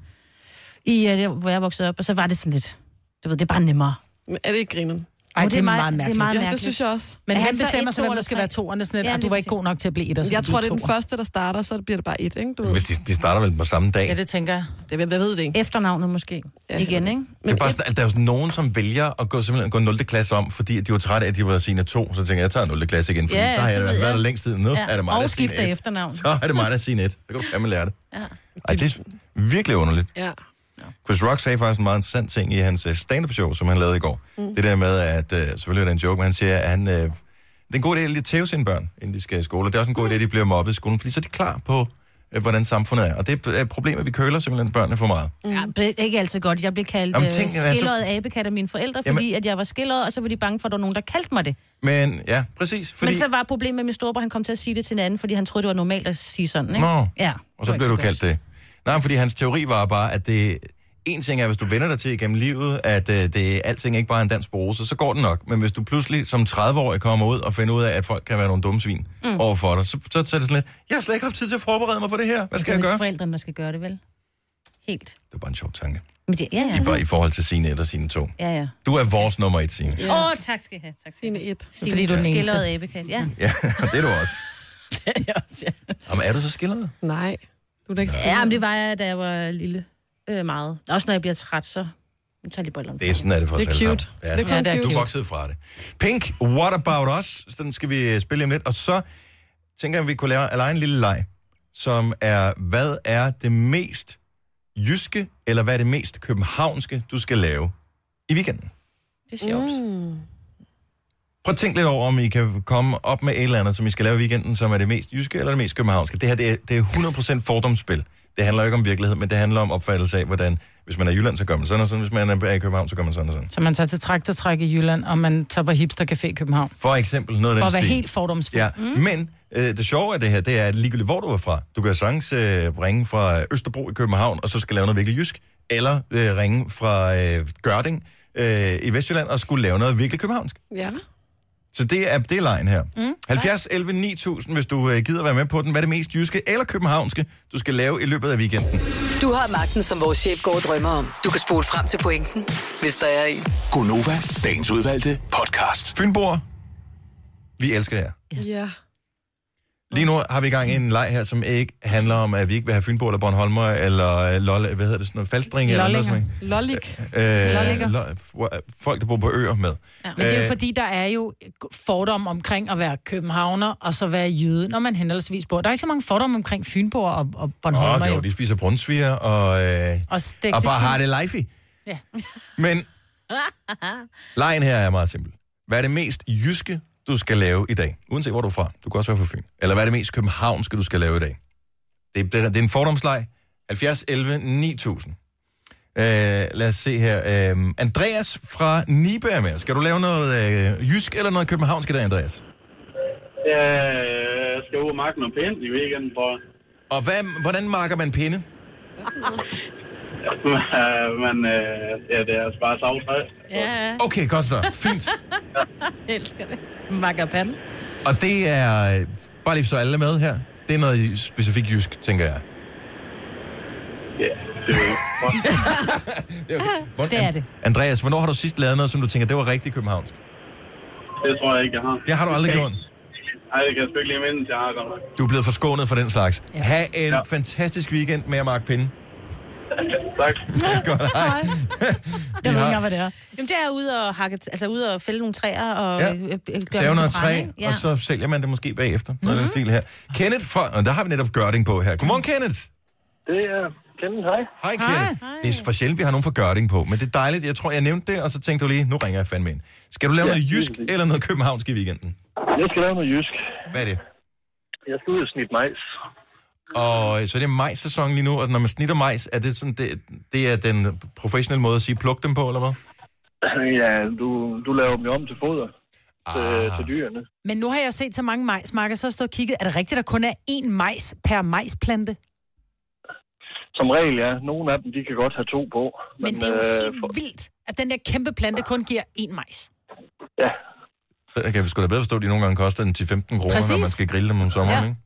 S4: i, øh, der, hvor jeg voksede op, og så var det sådan lidt, du ved, det er bare nemmere.
S3: Men Er det ikke grinen?
S2: Ej,
S4: Jo,
S2: det er meget
S4: Det
S2: mærkeligt.
S4: er
S3: Ja,
S4: meget
S3: det
S4: mærkeligt.
S3: synes jeg også.
S2: Men
S4: Er
S2: han
S4: han så
S2: bestemmer
S4: et,
S2: sig,
S4: to
S2: hvem der
S4: eller
S2: skal
S4: tre?
S2: være toerne, sådan
S4: Ja,
S2: lidt, og du
S4: lige
S2: var ikke
S4: præcis.
S2: god nok til at blive etter, så
S3: Jeg
S2: du
S3: tror,
S2: er
S3: det er den
S2: toer.
S3: første, der starter, så bliver det bare et, ikke? Du ved.
S1: Hvis de, de starter vel på samme dag.
S2: Ja, det tænker jeg.
S4: Mm.
S3: Det, jeg ved det ikke.
S4: Efternavnet måske. Ja, Igen, ikke?
S1: Men det er bare sådan, at der er jo nogen, som vælger at gå, simpelthen gå 0. klasse om, fordi at de var trætte af, at de var sine to. Så tænker jeg, jeg tager 0. klasse igen, fordi
S4: Ja,
S1: ja, så har jeg
S4: så
S1: da
S4: ved jeg.
S1: været der længst tid nu. Ja.
S4: Ja,
S1: Er det mig,
S4: og
S1: der er sine
S4: skifter
S1: et.
S4: efternavn.
S1: Så er det mig, der er sine et. Så kan du fandme lære det. Ja. Ej, det er virkelig underligt.
S3: Ja.
S1: Chris Rock sagde faktisk en meget interessant ting i hans øh, stand-up show, som han lavede i går. Mm. Det der med, at øh, selvfølgelig er det en joke, men han siger, at han, øh, det er en god idé at lige tæve sine børn, inden de skal i skole. Og Det er også en god idé, at de bliver mobbet i skolen, fordi så er de klar på, øh, hvordan samfundet er. Og det er et problem, at vi køler simpelthen børnene for meget.
S4: Mm. Ja, det er ikke altid godt. Jeg blev kaldt
S1: Jamen,
S4: Jamen,
S1: tænk,
S4: tænk,
S1: altså-
S4: skilleret abekat af mine forældre, fordi
S1: Jamen-
S4: Jamen. at jeg var skilleret, og så var de bange for, at der var nogen, der kaldte mig det.
S1: Men ja, præcis. Fordi...
S4: Fordi... Men så var problemet med min storebror, han kom til at sige det til en anden, fordi han troede, det var normalt at sige sådan, ikke?
S1: Nå.
S4: Ja,
S1: Og så
S4: det
S1: blev
S4: var
S1: du
S4: ikke
S1: kaldt
S4: godt.
S1: det. Nej, fordi hans teori var bare, at det... En ting er, hvis du vender dig til igennem livet, at øh, det alting ikke bare er en dansk brose, så går det nok. Men hvis du pludselig som 30-årig kommer ud og finder ud af, at folk kan være nogle dumme svin mm. overfor dig, så, så, så er det sådan lidt, jeg har slet ikke haft tid til at forberede mig på det her. Hvad skal jeg
S4: Det er
S1: gøre?
S4: ikke
S1: Det
S4: forældrene, der skal gøre det, vel? Helt.
S1: var bare en sjov tanke.
S4: Men det, ja, ja.
S1: I, bare i forhold til sine et og sine to.
S4: Ja, ja.
S1: Du er vores nummer et, Signe.
S4: Åh, ja. oh, tak skal I have. Tak skal I
S3: Sine
S4: have.
S3: et.
S4: Signe,
S2: Fordi du er den eneste.
S4: Skilleret abekat, ja.
S1: Ja, (laughs) det er du også.
S4: (laughs) ja.
S1: Jamen, er du så skildret?
S3: Nej. Du er da ikke
S4: ja, men det var jeg, da jeg var lille. Øh, meget. Også når jeg bliver træt, så... Nu tager jeg lige brillerne.
S1: Det er sådan, er det for
S3: Det
S1: os
S3: er
S1: alle
S3: cute.
S1: sammen.
S3: Det er kun
S2: det er
S1: Du
S3: cute.
S2: cute.
S1: voksede fra det. Pink, What About Us? Den skal vi spille om lidt. Og så tænker jeg, at vi kunne lave, lave en lille leg, som er, hvad er det mest jyske, eller hvad er det mest københavnske, du skal lave i weekenden?
S4: Det er sjovt. Mm.
S1: Prøv at tænke lidt over, om I kan komme op med et eller andet, som I skal lave i weekenden, som er det mest jyske eller det mest københavnske. Det her, det er, det er 100% fordomsspil. Det handler jo ikke om virkelighed, men det handler om opfattelse af, hvordan, hvis man er i Jylland, så gør man sådan og sådan, hvis man er i København, så gør man sådan og sådan.
S2: Så man tager til traktortræk i Jylland, og man tager på Hipster Café i København.
S1: For eksempel noget af den
S2: For at være
S1: stil.
S2: helt fordomsfuld.
S1: Ja, mm. men øh, det sjove af det her, det er, at ligegyldigt hvor du er fra, du kan sagtens øh, ringe fra Østerbro i København, og så skal lave noget virkelig jysk, eller øh, ringe fra øh, Gørding øh, i Vestjylland, og skulle lave noget virkelig københavnsk.
S3: Ja.
S1: Så det er, det er lejen her. Mm. 70 11 9000, hvis du øh, gider være med på den. Hvad er det mest jyske eller københavnske, du skal lave i løbet af weekenden?
S6: Du har magten, som vores chef går og drømmer om. Du kan spole frem til pointen, hvis der er en.
S5: Gonova, dagens udvalgte podcast.
S1: Fynboer, vi elsker jer.
S3: Ja.
S1: Lige nu har vi i gang i en leg her, som ikke handler om, at vi ikke vil have Fynbo eller Bornholmer, eller øh, Lolle, hvad hedder det, sådan noget, Falstring, eller noget
S2: Lollinger.
S1: sådan noget.
S3: Lollik.
S1: Øh,
S2: Lollikker.
S1: lo- f- folk, der bor på øer med. Ja.
S2: Men det er jo fordi, der er jo fordom omkring at være københavner, og så være jøde, når man henholdsvis bor. Der er ikke så mange fordomme omkring Fynborg og, og Bornholmer.
S1: Åh,
S2: Oh,
S1: jo, de spiser brunsviger og, øh,
S2: Og stegt
S1: og
S2: til
S1: bare
S2: sild.
S1: har det life i.
S2: Ja. (laughs)
S1: Men lejen her er meget simpel. Hvad er det mest jyske, du skal lave i dag? Uanset hvor du er fra. Du kan også være fra Fyn. Eller hvad er det mest københavnske, du skal lave i dag? Det, er- det, er- det er en fordomsleg. 70, 11, 9000. Øh, lad os se her. Øh, Andreas fra Nibe er med. Skal du lave noget øh, jysk eller noget københavnsk i dag, Andreas?
S7: Øh, jeg skal skal ud og makke noget pænt i weekenden, tror jeg. (laughs)
S1: Og hvad, hvordan marker man pinde?
S7: Men øh, ja, det er altså bare savtræ.
S4: Ja,
S1: Okay, godt så. Fint.
S4: jeg elsker det. Magapan.
S1: Og det er, øh, bare lige så alle er med her, det er noget specifikt jysk, tænker jeg.
S7: Ja, det er jo-
S1: (laughs) Det er, okay. Hvor,
S2: Det er det.
S1: Andreas, hvornår har du sidst lavet noget, som du tænker, det var rigtig københavnsk?
S7: det tror jeg ikke, jeg har.
S1: Jeg har du aldrig
S7: Okay.
S1: gjort.
S7: Nej, det kan jeg sgu ikke lige mindes, jeg har godt nok.
S1: Du er blevet forskånet for den slags. Ja. Ha' en ja.
S7: Ja.
S1: fantastisk weekend med at marke pinde.
S7: Tak.
S1: (laughs) Godt, (laughs) hej.
S2: Jeg
S1: Vi
S2: ved
S1: har-
S2: ikke engang, hvad det er.
S4: Jamen, det er ude og, hakke, altså, ude og fælde nogle træer og
S1: Ja.
S4: ja. gøre dem til
S1: Saver noget
S4: brænde,
S1: træ,
S4: ikke?
S1: ja. og så sælger man det måske bagefter. Mm-hmm. Den stil her. Kenneth fra... Og der har vi netop Gørding på her. Godmorgen, Kenneth.
S7: Det er kendt, hej.
S1: Hej, Kenneth. Det er for sjældent, vi har nogen fra Gørding på, men det er dejligt. Jeg tror, jeg nævnte det, og så tænkte du lige, nu ringer jeg fandme ind. Skal du lave
S7: Ja,
S1: ja, noget jysk
S7: lige præcis.
S1: eller noget københavnsk i weekenden?
S7: Jeg skal lave noget jysk.
S1: Hvad er det?
S7: Jeg skal ud og snitte majs. (clears throat)
S1: Og øh, så er det majssæson lige nu, og når man snitter majs, er det sådan, det, det er den professionelle måde at sige, pluk dem på, eller hvad?
S7: Ja, du, du laver dem jo om til foder til,
S1: Ah.
S7: til dyrene.
S2: Men nu har jeg set så mange majsmarker, så har jeg stået og kigget. Er det rigtigt, at der kun er én majs per majsplante?
S7: Som regel, ja. Nogle af dem, de kan godt have to på.
S2: Men det er jo
S7: øh,
S2: helt
S7: for-
S2: vildt, at den der kæmpe plante kun giver én majs.
S7: Ja,
S1: Jeg kan sgu da bedre forstå, at de nogle gange koster den til 15 kroner, når
S2: Præcis.
S1: man skal grille dem om sommeren, ja.
S2: Ja.
S1: ikke?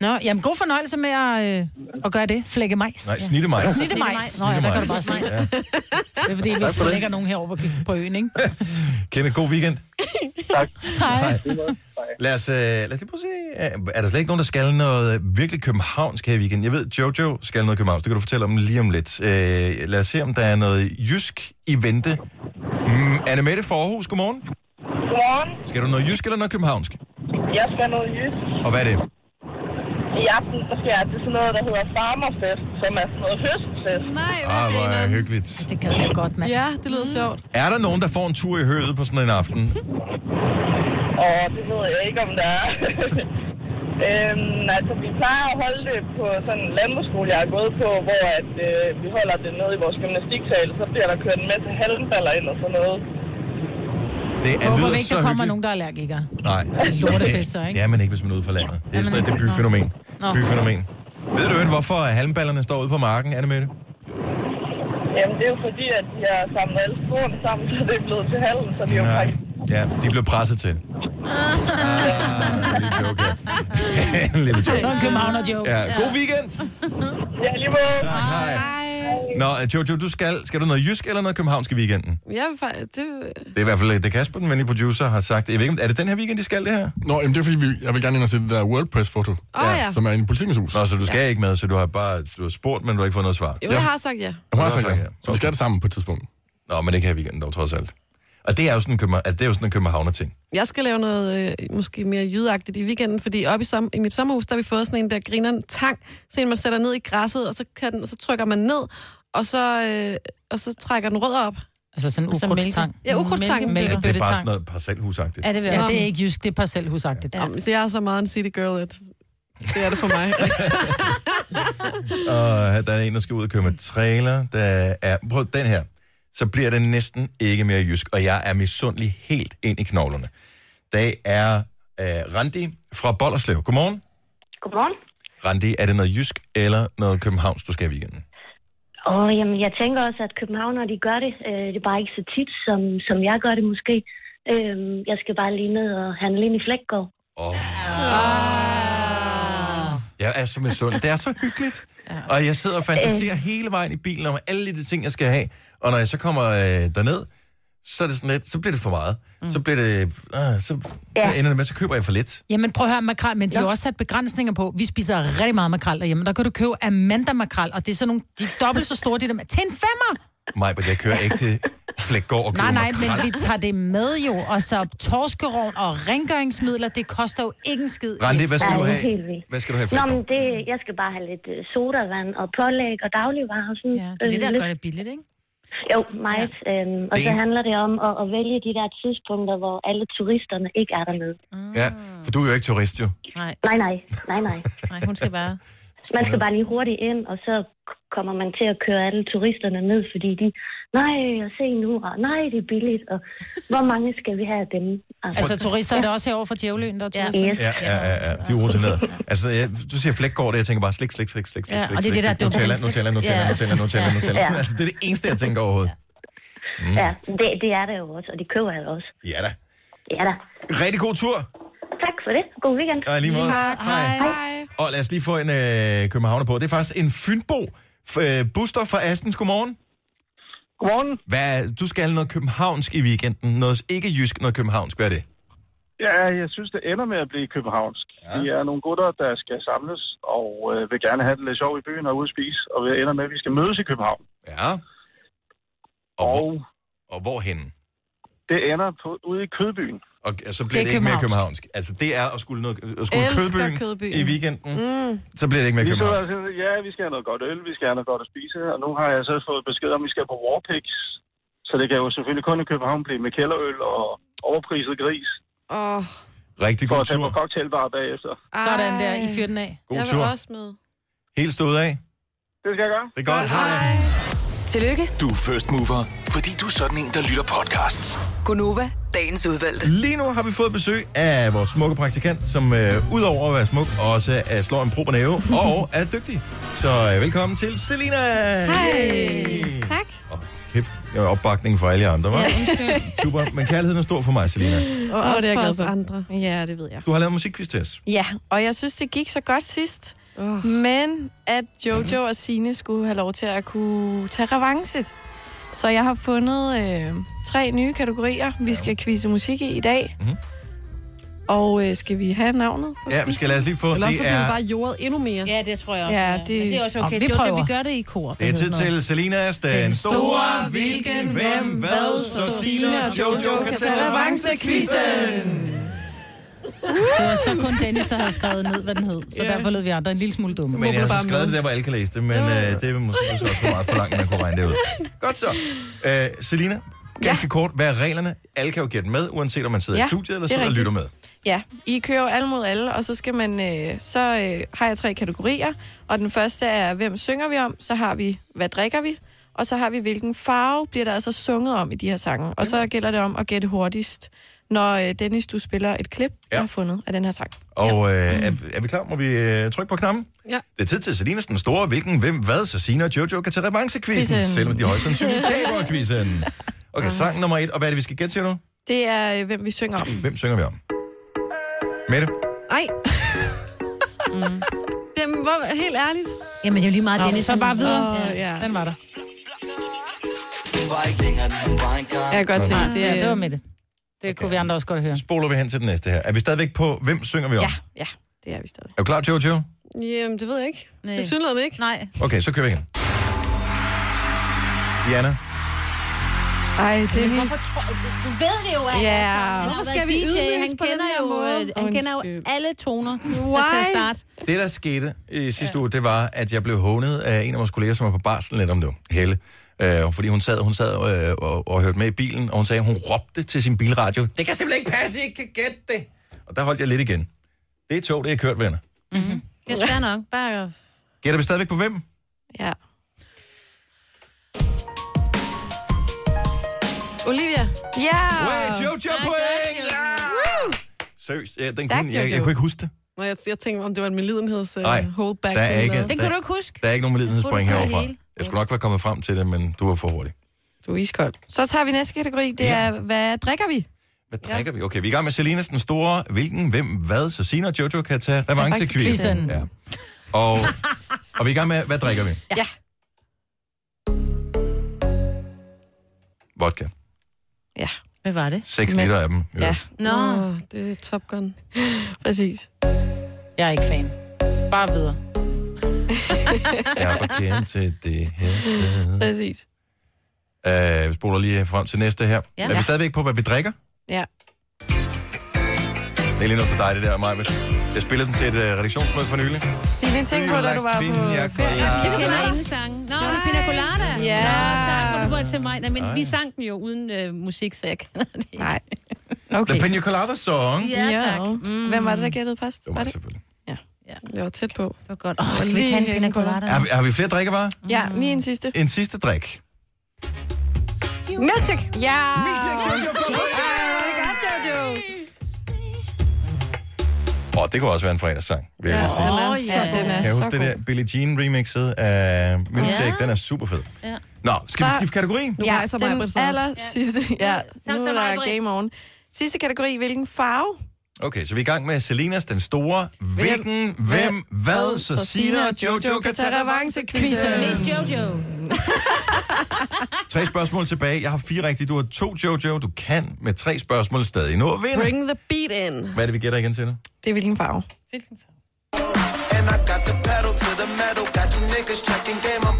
S2: Nå, jamen god fornøjelse med at, øh, at gøre det. Flække majs.
S1: Nej, snitte majs.
S2: Snitte Altså, majs. Nå ja, der kan du bare se.
S4: Snitte
S2: Det er fordi, vi flækker nogen herovre på, på øen, ikke?
S1: Kenneth, god weekend.
S7: tak.
S2: Hej.
S1: Lad os, øh, lad os lige prøve at se. øh, Er der slet ikke nogen, der skal noget øh, virkelig københavnsk her i weekenden? Jeg ved, Jojo skal noget københavnsk. Det kan du fortælle om lige om lidt. Øh, lad os se, om der er noget jysk i vente. Mm, Annemette Forhus, godmorgen.
S8: Godmorgen.
S1: Skal du noget jysk eller noget københavnsk?
S8: Jeg skal noget jysk.
S1: Og hvad er det? Ah,
S8: I aften der skal jeg til sådan noget, der hedder farmerfest, som er sådan noget høstfest.
S3: Nej, hvor
S1: Ah, hvor er
S3: grineren.
S1: hyggeligt.
S2: Det gad jeg godt, mand.
S3: Ja, det lyder sjovt.
S1: Er der nogen, der får en tur i høet på sådan en aften?
S8: Og det ved jeg ikke, om der er. øhm, altså, vi plejer at holde det på sådan en landbrugsskole, jeg har gået på, hvor at, øh, vi holder det nede i vores gymnastiksal, så bliver der kørt en masse halmballer ind og sådan noget.
S1: Det er,
S2: Håber
S1: lyder
S2: vi ikke,
S1: så
S2: der kommer
S1: hyggeligt.
S2: nogen, der er allergikere.
S1: Nej.
S2: Lortefest så, ikke?
S1: Ja, men ikke, hvis man er ude fra landet. Det er sådan
S2: man-
S1: det er byfænomen.
S2: Nå.
S1: Byfænomen. Ved du ikke, hvorfor halmballerne står ude på marken, Annemette?
S8: Jamen, det er jo fordi, at de har samlet alle sporene sammen, (laughs) så det er blevet til halm, så det er jo
S1: Nej.
S8: faktisk...
S1: Ja, de blev presset til. Ah, lille joke her. (laughs) en lille
S2: Det var
S1: joke.
S2: en københavner-joke.
S1: Ja, god weekend.
S8: Ja, lige måde.
S1: Tak, hej.
S3: Nej.
S1: Nå, Jojo, du skal, skal du noget jysk eller noget københavnsk i weekenden?
S3: Jeg vil faktisk... Det,
S1: Det er i hvert fald øh, det Kasper, den venlige producer, har sagt. Jeg ved ikke, om- er det den her weekend, de skal det her?
S9: Nå, jamen, det er fordi, vi, jeg vil gerne ind og se det der WordPress-foto,
S3: Åh ja.
S9: som er i politikens hus.
S1: Nå, så du skal ikke med, så du har bare du har spurgt, men du har ikke fået noget svar.
S3: Jo, jeg har sagt ja.
S9: Jeg har
S1: Nå,
S9: sagt
S1: tak,
S9: ja.
S1: ja.
S9: Så vi skal det sammen på et tidspunkt.
S1: Nå, men ikke her i weekenden dog, trods alt. Og det er jo sådan en, københavn, altså, det er jo sådan en københavner-ting.
S3: Jeg skal lave noget øh, måske mere jydeagtigt i weekenden, fordi oppe i, som, i mit sommerhus, der har vi fået sådan en, der griner en tang. Så en, man sætter ned i græsset, og så, kan den, og så trykker man ned, og så, øh, og så trækker den rødder op.
S2: Altså sådan en
S4: Altså
S2: ukrudtstang.
S3: mælke- Ja, ukrudtstang.
S2: Mælke-
S1: Ja, det er bare sådan
S2: Mælkebøttetang.
S1: noget parcelhusagtigt.
S4: Er det vel?
S2: Ja, det er ikke jysk, det er parcelhusagtigt. Ja.
S3: Jamen, så jeg er så meget en city girl, at det er det for mig.
S1: Og der er en, der skal ud og køre med trailer. Der er, prøv den her. Så bliver det næsten ikke mere jysk, og jeg er misundelig helt ind i knoglerne. Det er øh, Randi fra Bollerslev. Godmorgen.
S10: Godmorgen.
S1: Randi, er det noget jysk eller noget københavns, du skal i weekenden?
S10: Og jamen, jeg tænker også, at københavnere, de gør det. Øh, det er bare ikke så tit, som, som jeg gør det måske. Øh, jeg skal bare lige ned og handle ind i Flækgaard.
S1: Oh.
S10: Ah.
S1: Jeg er så misundelig. Det er så hyggeligt. Og jeg sidder og fantaserer
S10: Øh.
S1: hele vejen i bilen om alle de ting, jeg skal have. Og når jeg så kommer øh, derned, så er det sådan lidt, så bliver det for meget. Så bliver det, øh, så
S10: Mm. Ja.
S1: ender det med, så køber jeg for lidt.
S2: Jamen prøv at høre, makrel, men de har også sat begrænsninger på. Vi spiser rigtig meget makrel derhjemme. Der kan du købe Amanda makrel, og det er sådan nogle, de er dobbelt så store, de der med. Til en femmer!
S1: Nej, men jeg kører ikke til Flækgaard og
S2: Nej,
S1: køber
S2: nej, men
S1: makrel.
S2: vi tager det med jo. Og så torskerovn og rengøringsmidler, det koster jo ikke en skid.
S1: Randi, hvad skal
S10: Ja,
S1: du
S10: det er
S1: have?
S10: helt vildt.
S1: Hvad skal du have i
S10: Nå, men
S1: Flækgaard?
S10: det, jeg skal bare have lidt øh, sodavand og pålæg og dagligvarer. Og sådan,
S4: Ja, det er det,
S10: øh,
S4: der
S10: lidt-
S4: gør det billigt, ikke?
S10: Jo, meget. Ja. Øhm, og
S1: Det
S10: så
S1: en-
S10: handler det om at, at vælge de der tidspunkter, hvor alle turisterne ikke er dernede.
S1: Ja, for du er jo ikke turist, jo.
S4: Nej,
S10: Nej, nej, nej, nej.
S4: nej, hun skal bare...
S10: Man skal bare lige hurtigt ind, og så k- kommer man til at køre alle turisterne ned, fordi de, nej, og se nu, og nej, det er billigt, og hvor mange skal vi have af dem?
S2: Altså turister er der også herovre fra Djævløen, der er turister.
S10: Yes.
S1: Ja, ja, ja, ja. De er urutinerede. Altså, jeg, du siger Flækgaard, og jeg tænker bare slik, slik, slik, slik, slik,
S2: Ja,
S1: slik,
S2: og det er
S1: slik,
S2: det, der er
S1: slik, Nutella,
S2: dumt.
S1: Nutella, Nutella,
S10: Ja.
S1: Nutella, Nutella,
S10: Ja.
S1: Nutella.
S10: Ja.
S1: Altså, det er det eneste, jeg tænker overhovedet.
S10: Ja, det, det er det jo også, og de køber det også.
S1: Ja da.
S10: Ja da.
S1: Rigtig god tur,
S10: Tak for det. God weekend.
S1: og i lige måde.
S11: Hej.
S1: Og lad os lige få en øh, københavner på. Det er faktisk en Fynbo. F- øh, Buster fra Astens, godmorgen.
S12: Godmorgen.
S1: Hvad, du skal noget københavnsk i weekenden. Noget ikke jysk, noget københavnsk. Hvad er det?
S12: Ja, jeg synes, det ender med at blive københavnsk. Ja. Vi er nogle gutter, der skal samles og øh, vil gerne have det lidt sjov i byen og ude at spise. Og vi ender med, at vi skal mødes i København.
S1: Ja. Og, og, hvor, og hvorhen?
S12: Det ender på, ude i Kødbyen.
S1: Og og så bliver det,
S12: Det er
S1: det ikke mere københavnsk.
S12: københavnsk.
S1: Altså, det er at skulle, noget, at skulle kødbyen, kødbyen i weekenden.
S12: Mm.
S1: Så bliver det ikke mere
S12: Vi
S1: københavnsk.
S12: sidder og siger, ja, vi skal have noget godt øl, vi skal have noget godt at spise. Og nu har jeg så fået besked om, at vi skal på Warpix. Så det kan jo selvfølgelig kun i København blive med kælderøl og overpriset gris.
S11: Åh,
S1: Rigtig
S12: god tur. For at tage på cocktailbar bagefter.
S2: Sådan der, I fyrer den af.
S1: God Jeg vil tur.
S2: også
S11: med.
S1: Helt stået af.
S12: Det skal jeg gøre.
S1: Det er godt. Hej.
S6: Tillykke.
S13: Du er first mover, fordi du er sådan en, der lytter podcasts.
S6: Gunova, dagens udvalgte.
S1: Lige nu har vi fået besøg af vores smukke praktikant, som øh, udover at være smuk, også øh, slår en proper næve og er dygtig. Så øh, velkommen til Selina.
S3: Hej. Tak.
S1: Kæft, jeg er opbakning for alle jer andre, var?
S3: Ja, undskyld.
S1: Super, men kærligheden er stor for mig, Selina.
S3: Og
S11: Åh,
S3: også
S11: det er jeg
S3: for
S11: glad
S3: os
S11: for.
S3: andre. Ja, det ved jeg.
S1: Du har lavet musikquiz til os.
S3: (laughs) Ja, og jeg synes, det gik så godt sidst. Uh. Men at Jojo og Sine skulle have lov til at kunne tage revanche. Så jeg har fundet øh, tre nye kategorier, vi skal quizze musik i i dag.
S1: Mhm.
S3: Og øh, skal vi have navnet? på
S1: Ja, vi skal lade os lige få...
S3: Eller
S1: Det
S3: også bliver
S1: er,
S3: det
S11: bare jordet endnu mere.
S4: Ja, det tror jeg også.
S3: Ja,
S4: Ja, det...
S3: det-
S4: Men det er også
S3: Nå,
S4: okay.
S3: vi
S4: det, er jo
S3: prøver.
S4: det, vi gør det i kor.
S1: det er tid til Selinas Den Store Hvilken Hvem Hvad Så Signe og Jojo kan tage revanche-quizzen.
S2: Det var så kun Dennis, der havde skrevet ned, hvad den hed. Så
S3: Ja.
S2: derfor lød vi andre en lille smule dumme.
S1: Men jeg har så skrevet det der, hvor alle kan læse det, men øh, det er måske også for meget for langt, man kunne regne det ud. Godt så. Øh, Selina, ganske kort, hvad er reglerne? Alle kan jo gætte med, uanset om man sidder ja,
S3: Ja,
S1: i studiet eller
S3: det er
S1: sidder og
S3: rigtigt.
S1: lytter med.
S3: Ja, I kører jo alle mod alle, og så skal man øh, så øh, har jeg tre kategorier, og den første er hvem synger vi om, så har vi hvad drikker vi, og så har vi hvilken farve bliver der altså sunget om i de her sange, og så gælder det om at gætte hurtigst, når øh, Dennis du spiller et klip, ja. jeg har fundet af den her sang.
S1: Og øh, er, er vi klar? Må vi øh, trykke på knappen?
S3: Ja.
S1: Det er tid til Selinas den store, hvilken, hvem, hvad, så Sina og Jojo kan tage revanche-quizzen,
S3: Quizzen.
S1: selvom de højst (laughs) sandsynligt taber quizzen. Okay, sang nummer et, og hvad er det, vi skal gætte til nu?
S3: Det er øh, hvem vi synger om.
S1: (clears throat) Hvem synger vi om? Mette?
S3: (laughs)
S11: Ej. mm. Jamen, hvor, helt ærligt.
S4: Jamen, det er jo lige meget
S2: Nå,
S4: Dennis.
S2: så bare videre.
S11: Ja.
S2: Den var der.
S3: Jeg kan godt se,
S2: Nej,
S3: det
S2: ja,
S3: er-
S2: det var med det. Det kunne vi andre også godt høre.
S1: Spoler vi hen til den næste her. Er vi stadigvæk på, hvem synger vi om?
S3: Ja, ja, det er vi stadig.
S1: Er du klar, Jojo?
S11: Jamen, det ved jeg ikke. Nej. Det synes jeg ikke.
S4: Nej.
S1: Okay, så kører vi igen. Diana?
S3: Ej, Dennis.
S4: Hvorfor tror, du, du ved det jo, at
S3: Ja,
S4: han
S3: hvorfor
S4: har
S3: skal
S4: været
S3: vi
S4: DJ,
S3: ydmyges
S4: han
S3: på den
S4: kender,
S3: her
S4: jo, øh,
S3: måde?
S4: han kender jo
S3: Undskyld.
S4: alle toner
S3: Why?
S4: til at starte.
S1: Det, der skete i sidste ja. uge, det var, at jeg blev hånet af en af vores kolleger, som er på barsel lidt om nu, Helle. Øh, fordi hun sad, hun sad øh, og, og hørte med i bilen, og hun sagde, at hun råbte til sin bilradio, det kan simpelthen ikke passe, I ikke kan gætte det. Og der holdt jeg lidt igen. Det er tog, det er kørt, venner.
S4: Det er svært nok. Bare...
S1: Gætter vi stadigvæk på hvem?
S3: Ja. Olivia. Ja!
S1: Hey, Jojo point! Ja! Seriøst, ja, den
S11: Tak,
S1: kunne, jeg, jeg
S11: Jojo.
S1: kunne ikke huske det.
S11: Nå, jeg, jeg tænkte, om det var en medlidenheds
S3: øh,
S11: uh,
S1: Nej,
S11: holdback.
S1: der er
S11: eller
S1: ikke-
S11: noget.
S1: Den kunne der- du ikke
S4: huske?
S1: Der er ikke nogen medlidenhedspoint
S3: Jeg tror, du
S1: heroverfra.
S3: har det hele.
S1: Jeg skulle nok være kommet frem til det, men du var for hurtig.
S3: Du er iskold. Så tager vi næste kategori. Det er, hvad drikker vi?
S1: Hvad drikker vi? Okay, vi er i gang med Selinas den store. Hvilken, hvem, hvad? Så Sina og Jojo kan tage revanche-quizzen.
S3: Revanche-quizzen.
S1: Ja. Og, og vi er i gang med, hvad drikker vi?
S3: Ja.
S1: Vodka.
S3: Ja.
S4: Hvad var det?
S1: 6 liter af dem.
S3: Ja.
S4: Nå.
S11: Åh, det er Top
S3: (gasps)
S11: Gun. Præcis.
S2: Jeg er ikke fan. Bare videre.
S1: Jeg er forkendt til det her sted.
S3: Præcis.
S1: Uh, vi spoler lige frem til næste her.
S3: Ja.
S1: Er vi stadigvæk på, hvad vi drikker?
S3: Ja.
S1: Det er lige noget for dig, det der, Maja. Jeg spillede den til et uh, redaktionsmøde for nylig.
S3: Sig lige en ting på, da du var på ferie.
S4: Jeg kender ingen sange. Nå, det er Pina Colada.
S3: Ja.
S4: Nå, tak, hvor du var til mig. Nej, men
S1: Ej.
S4: vi sang den jo uden øh, musik, så jeg kender det
S3: (laughs)
S4: ikke.
S3: Nej.
S1: The Pina Colada Song.
S4: Ja, tak.
S3: Mm. Hvem var det, der gættede først?
S1: Det var mig selvfølgelig.
S3: Ja. Jeg var tæt på.
S4: Det var godt. Åh, skal vi ikke have en pina colada?
S1: Har vi, har vi flere drikkevarer?
S14: Ja, lige en sidste.
S1: En sidste drik.
S14: Milkshake! Ja!
S1: Milkshake, Jojo, på fredag!
S14: Ej, hvor er det godt, Jojo!
S1: Åh, det kunne også være en fredagssang, vil jeg
S14: Ja,
S1: lige sige.
S14: den er så- den er
S1: kan jeg
S14: så
S1: huske det der Billie Jean remixet af Milkshake?
S14: Ja.
S1: Den er super fed.
S14: Ja.
S1: Nå, skal vi
S14: Så-
S1: skifte kategori?
S14: Nu ja, så den aller sidste. Ja, nu er der game on. Sidste kategori, hvilken farve?
S1: Okay, så vi er i gang med Selinas den store. Hvilken, hvem, hvem hvad, så Sina og Jojo kan tage revanche.
S14: quizzen.
S4: Mest Jojo.
S1: Tre spørgsmål tilbage. Jeg har fire rigtige. Du har to, Jojo. Du kan med tre spørgsmål stadig nå at vinde.
S14: Bring the beat in.
S1: Hvad er det, vi gætter igen til nu?
S14: Det er hvilken farve?
S4: Jeg gætter bare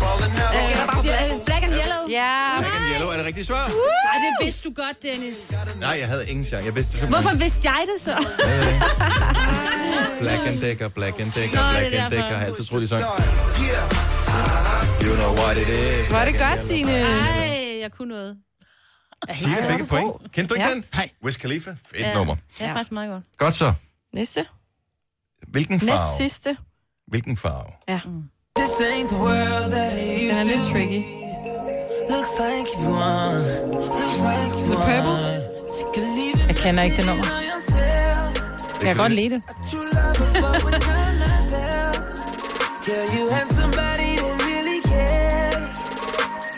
S4: på black. Black and yellow.
S14: Ja.
S1: Black and yellow er det rigtige svar.
S4: Ej, det vidste du godt, Dennis.
S1: Nej, jeg havde ingen chance. Jeg vidste det simpelthen.
S4: Hvorfor vidste jeg det så?
S1: ikke. Black and Decker, Black and Decker,
S4: Nå, det er
S1: Black and
S4: derfor.
S1: Decker. Jeg har altid troet, de sang. You know what it is.
S14: Var det
S1: Black and
S14: godt,
S1: yellow.
S14: Signe?
S4: Nej, jeg kunne noget.
S1: Signe fik et point. Kendte du ikke
S4: Ja.
S1: den? Nej. Wiz Khalifa. Fedt
S4: Ja.
S1: nummer.
S4: Det er faktisk meget godt.
S1: Godt så.
S14: Næste.
S1: Hvilken
S14: Næst
S1: farve?
S14: sidste.
S1: Hvilken farve?
S14: Ja. Mm. Den er lidt tricky.
S2: The Purple. Jeg kender ikke det nummer. Jeg kan godt lide det.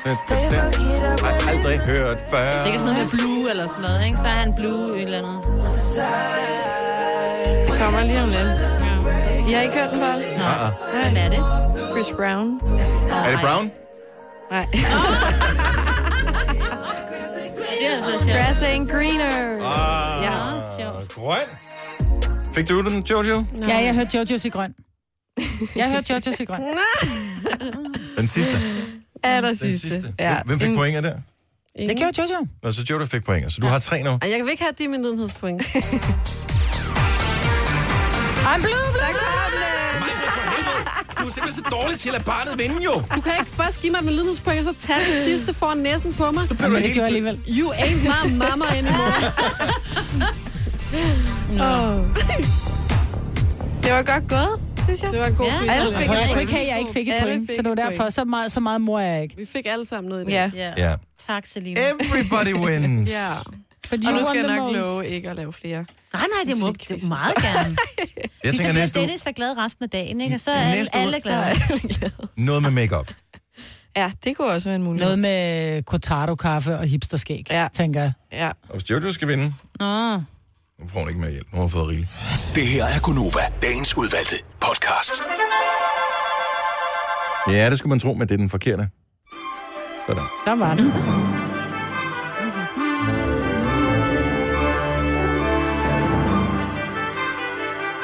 S1: Har jeg aldrig hørt før.
S4: Det er ikke sådan noget med blue eller sådan noget, ikke? Så er han blue et eller andet.
S14: Det kommer lige om lidt. I har ikke hørt den før?
S1: Ah,
S14: Hvem er det? Chris Brown.
S1: ah. Er det Brown?
S14: Nej.
S4: Det er altså sjovt.
S14: Grass and greener.
S1: Ah.
S14: Ja.
S1: Grøn. Fik du den, Jojo?
S2: Ja, jeg hørte Jojo's i grøn. Jeg hørte Jojo's i
S4: (laughs)
S2: grøn.
S1: Den sidste.
S14: Aller
S1: Den
S14: sidste.
S1: sidste.
S14: Ja.
S1: Hvem fik pointet der?
S2: Det gjorde Jojo.
S1: Nå, så Jojo fik pointet. Så du har tre nu.
S3: Ej, Jeg vil ikke have det i min lidenhedspoint.
S2: I'm blue, blue,
S1: Du er simpelthen så dårlig til at barnet vinde, jo.
S3: Du kan ikke først give mig min lidenhedspoint, og så tage den sidste foran næsen på mig.
S1: blev du helt-
S3: You ain't my mama anymore.
S14: Åh. Det var godt gået, synes jeg. Det var en god
S3: Ja. quiz.
S14: Alle
S2: Jeg
S14: fik
S2: kunne
S14: et
S2: ikke
S14: point.
S2: have, at jeg ikke fik et
S14: Alle
S2: point,
S14: fik
S2: så det var
S14: et
S2: derfor.
S14: point.
S2: Så meget, så meget mor er jeg ikke.
S3: Vi fik alle sammen noget i det.
S2: Ja.
S1: Ja.
S4: Tak, Selina.
S1: Everybody wins.
S3: Ja.
S2: But
S14: Og
S2: you
S14: nu skal
S2: won
S14: jeg
S2: the
S14: nok
S2: most.
S14: love ikke at lave flere.
S4: Nej, nej, det må det må meget gerne.
S2: Ligesom
S1: Jeg tænker
S4: så bliver
S1: næste uge,
S4: Dennis så glad resten af dagen, ikke? Og så er alle,
S1: Næste uge,
S4: alle
S1: så-
S4: glade.
S1: noget med makeup.
S14: Ja, det kunne også være en mulighed.
S2: Noget med cortado-kaffe og hipsterskæg, ja. tænker jeg.
S14: Ja.
S1: Og hvis Jojo skal vinde,
S2: Nå.
S1: nu får hun ikke mere hjælp. Nu har hun fået rigeligt.
S5: Det her er Gunova, dagens udvalgte podcast.
S1: Ja, det skulle man tro, men det er den forkerte. Sådan.
S2: Der var den.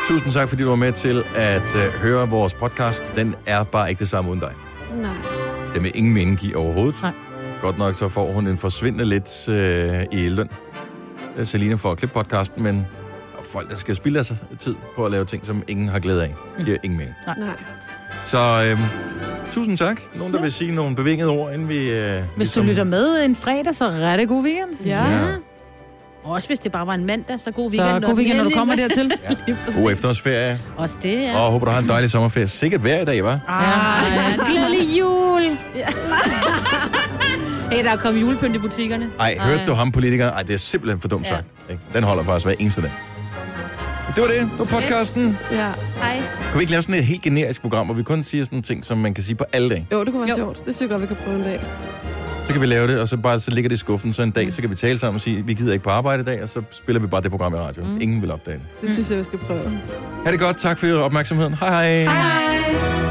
S1: Tusind tak, fordi du var med til at øh, høre vores podcast. Den er bare ikke det samme uden dig.
S3: Nej.
S1: Det vil ingen mening give overhovedet. Nej. Godt nok så får hun en forsvindende lidt øh, i løn. Øh, Selina får at klippe podcasten, men der er folk, der skal spille altså tid på at lave ting, som ingen har glæde af.
S2: Mm.
S1: Det giver ingen mening.
S3: Nej.
S1: Så øh, tusind tak. Nogen, der vil sige nogle bevingede ord, inden vi... Øh,
S2: Hvis du lytter med en fredag, så rette god weekend.
S1: Ja.
S4: Også hvis det bare var en mandag, så god
S2: Så
S4: weekend.
S2: god weekend, når du kommer dertil.
S1: God efterårsferie.
S4: Også det, ja.
S1: Ja. Og håber, du har en dejlig sommerferie. Sikkert hver dag, hva'?
S4: Ah, ja.
S2: Glædelig jul!
S4: Ja. hey, der er kommet julepynt i butikkerne.
S1: Ej, hørte du ham, politikeren? Ej, det er simpelthen for dumt
S4: Ja.
S1: ja. sagt. ikke? Den holder faktisk hver eneste dag. Det var det. Det var podcasten.
S3: Ja.
S4: Hej.
S1: Kan vi ikke lave sådan et helt generisk program, hvor vi kun siger sådan ting, som man kan sige på alle dage?
S3: Jo, det kunne være jo. sjovt. Det synes jeg godt, vi kan prøve en dag.
S1: Så kan vi lave det, og så bare så ligger det i skuffen, så en dag, så kan vi tale sammen og sige, vi gider ikke på arbejde i dag, og så spiller vi bare det program i radioen. Mm. Ingen vil opdage det.
S3: Det synes jeg, vi skal prøve.
S1: Ha' det godt, tak for opmærksomheden. Hej hej. hej.
S3: Hej.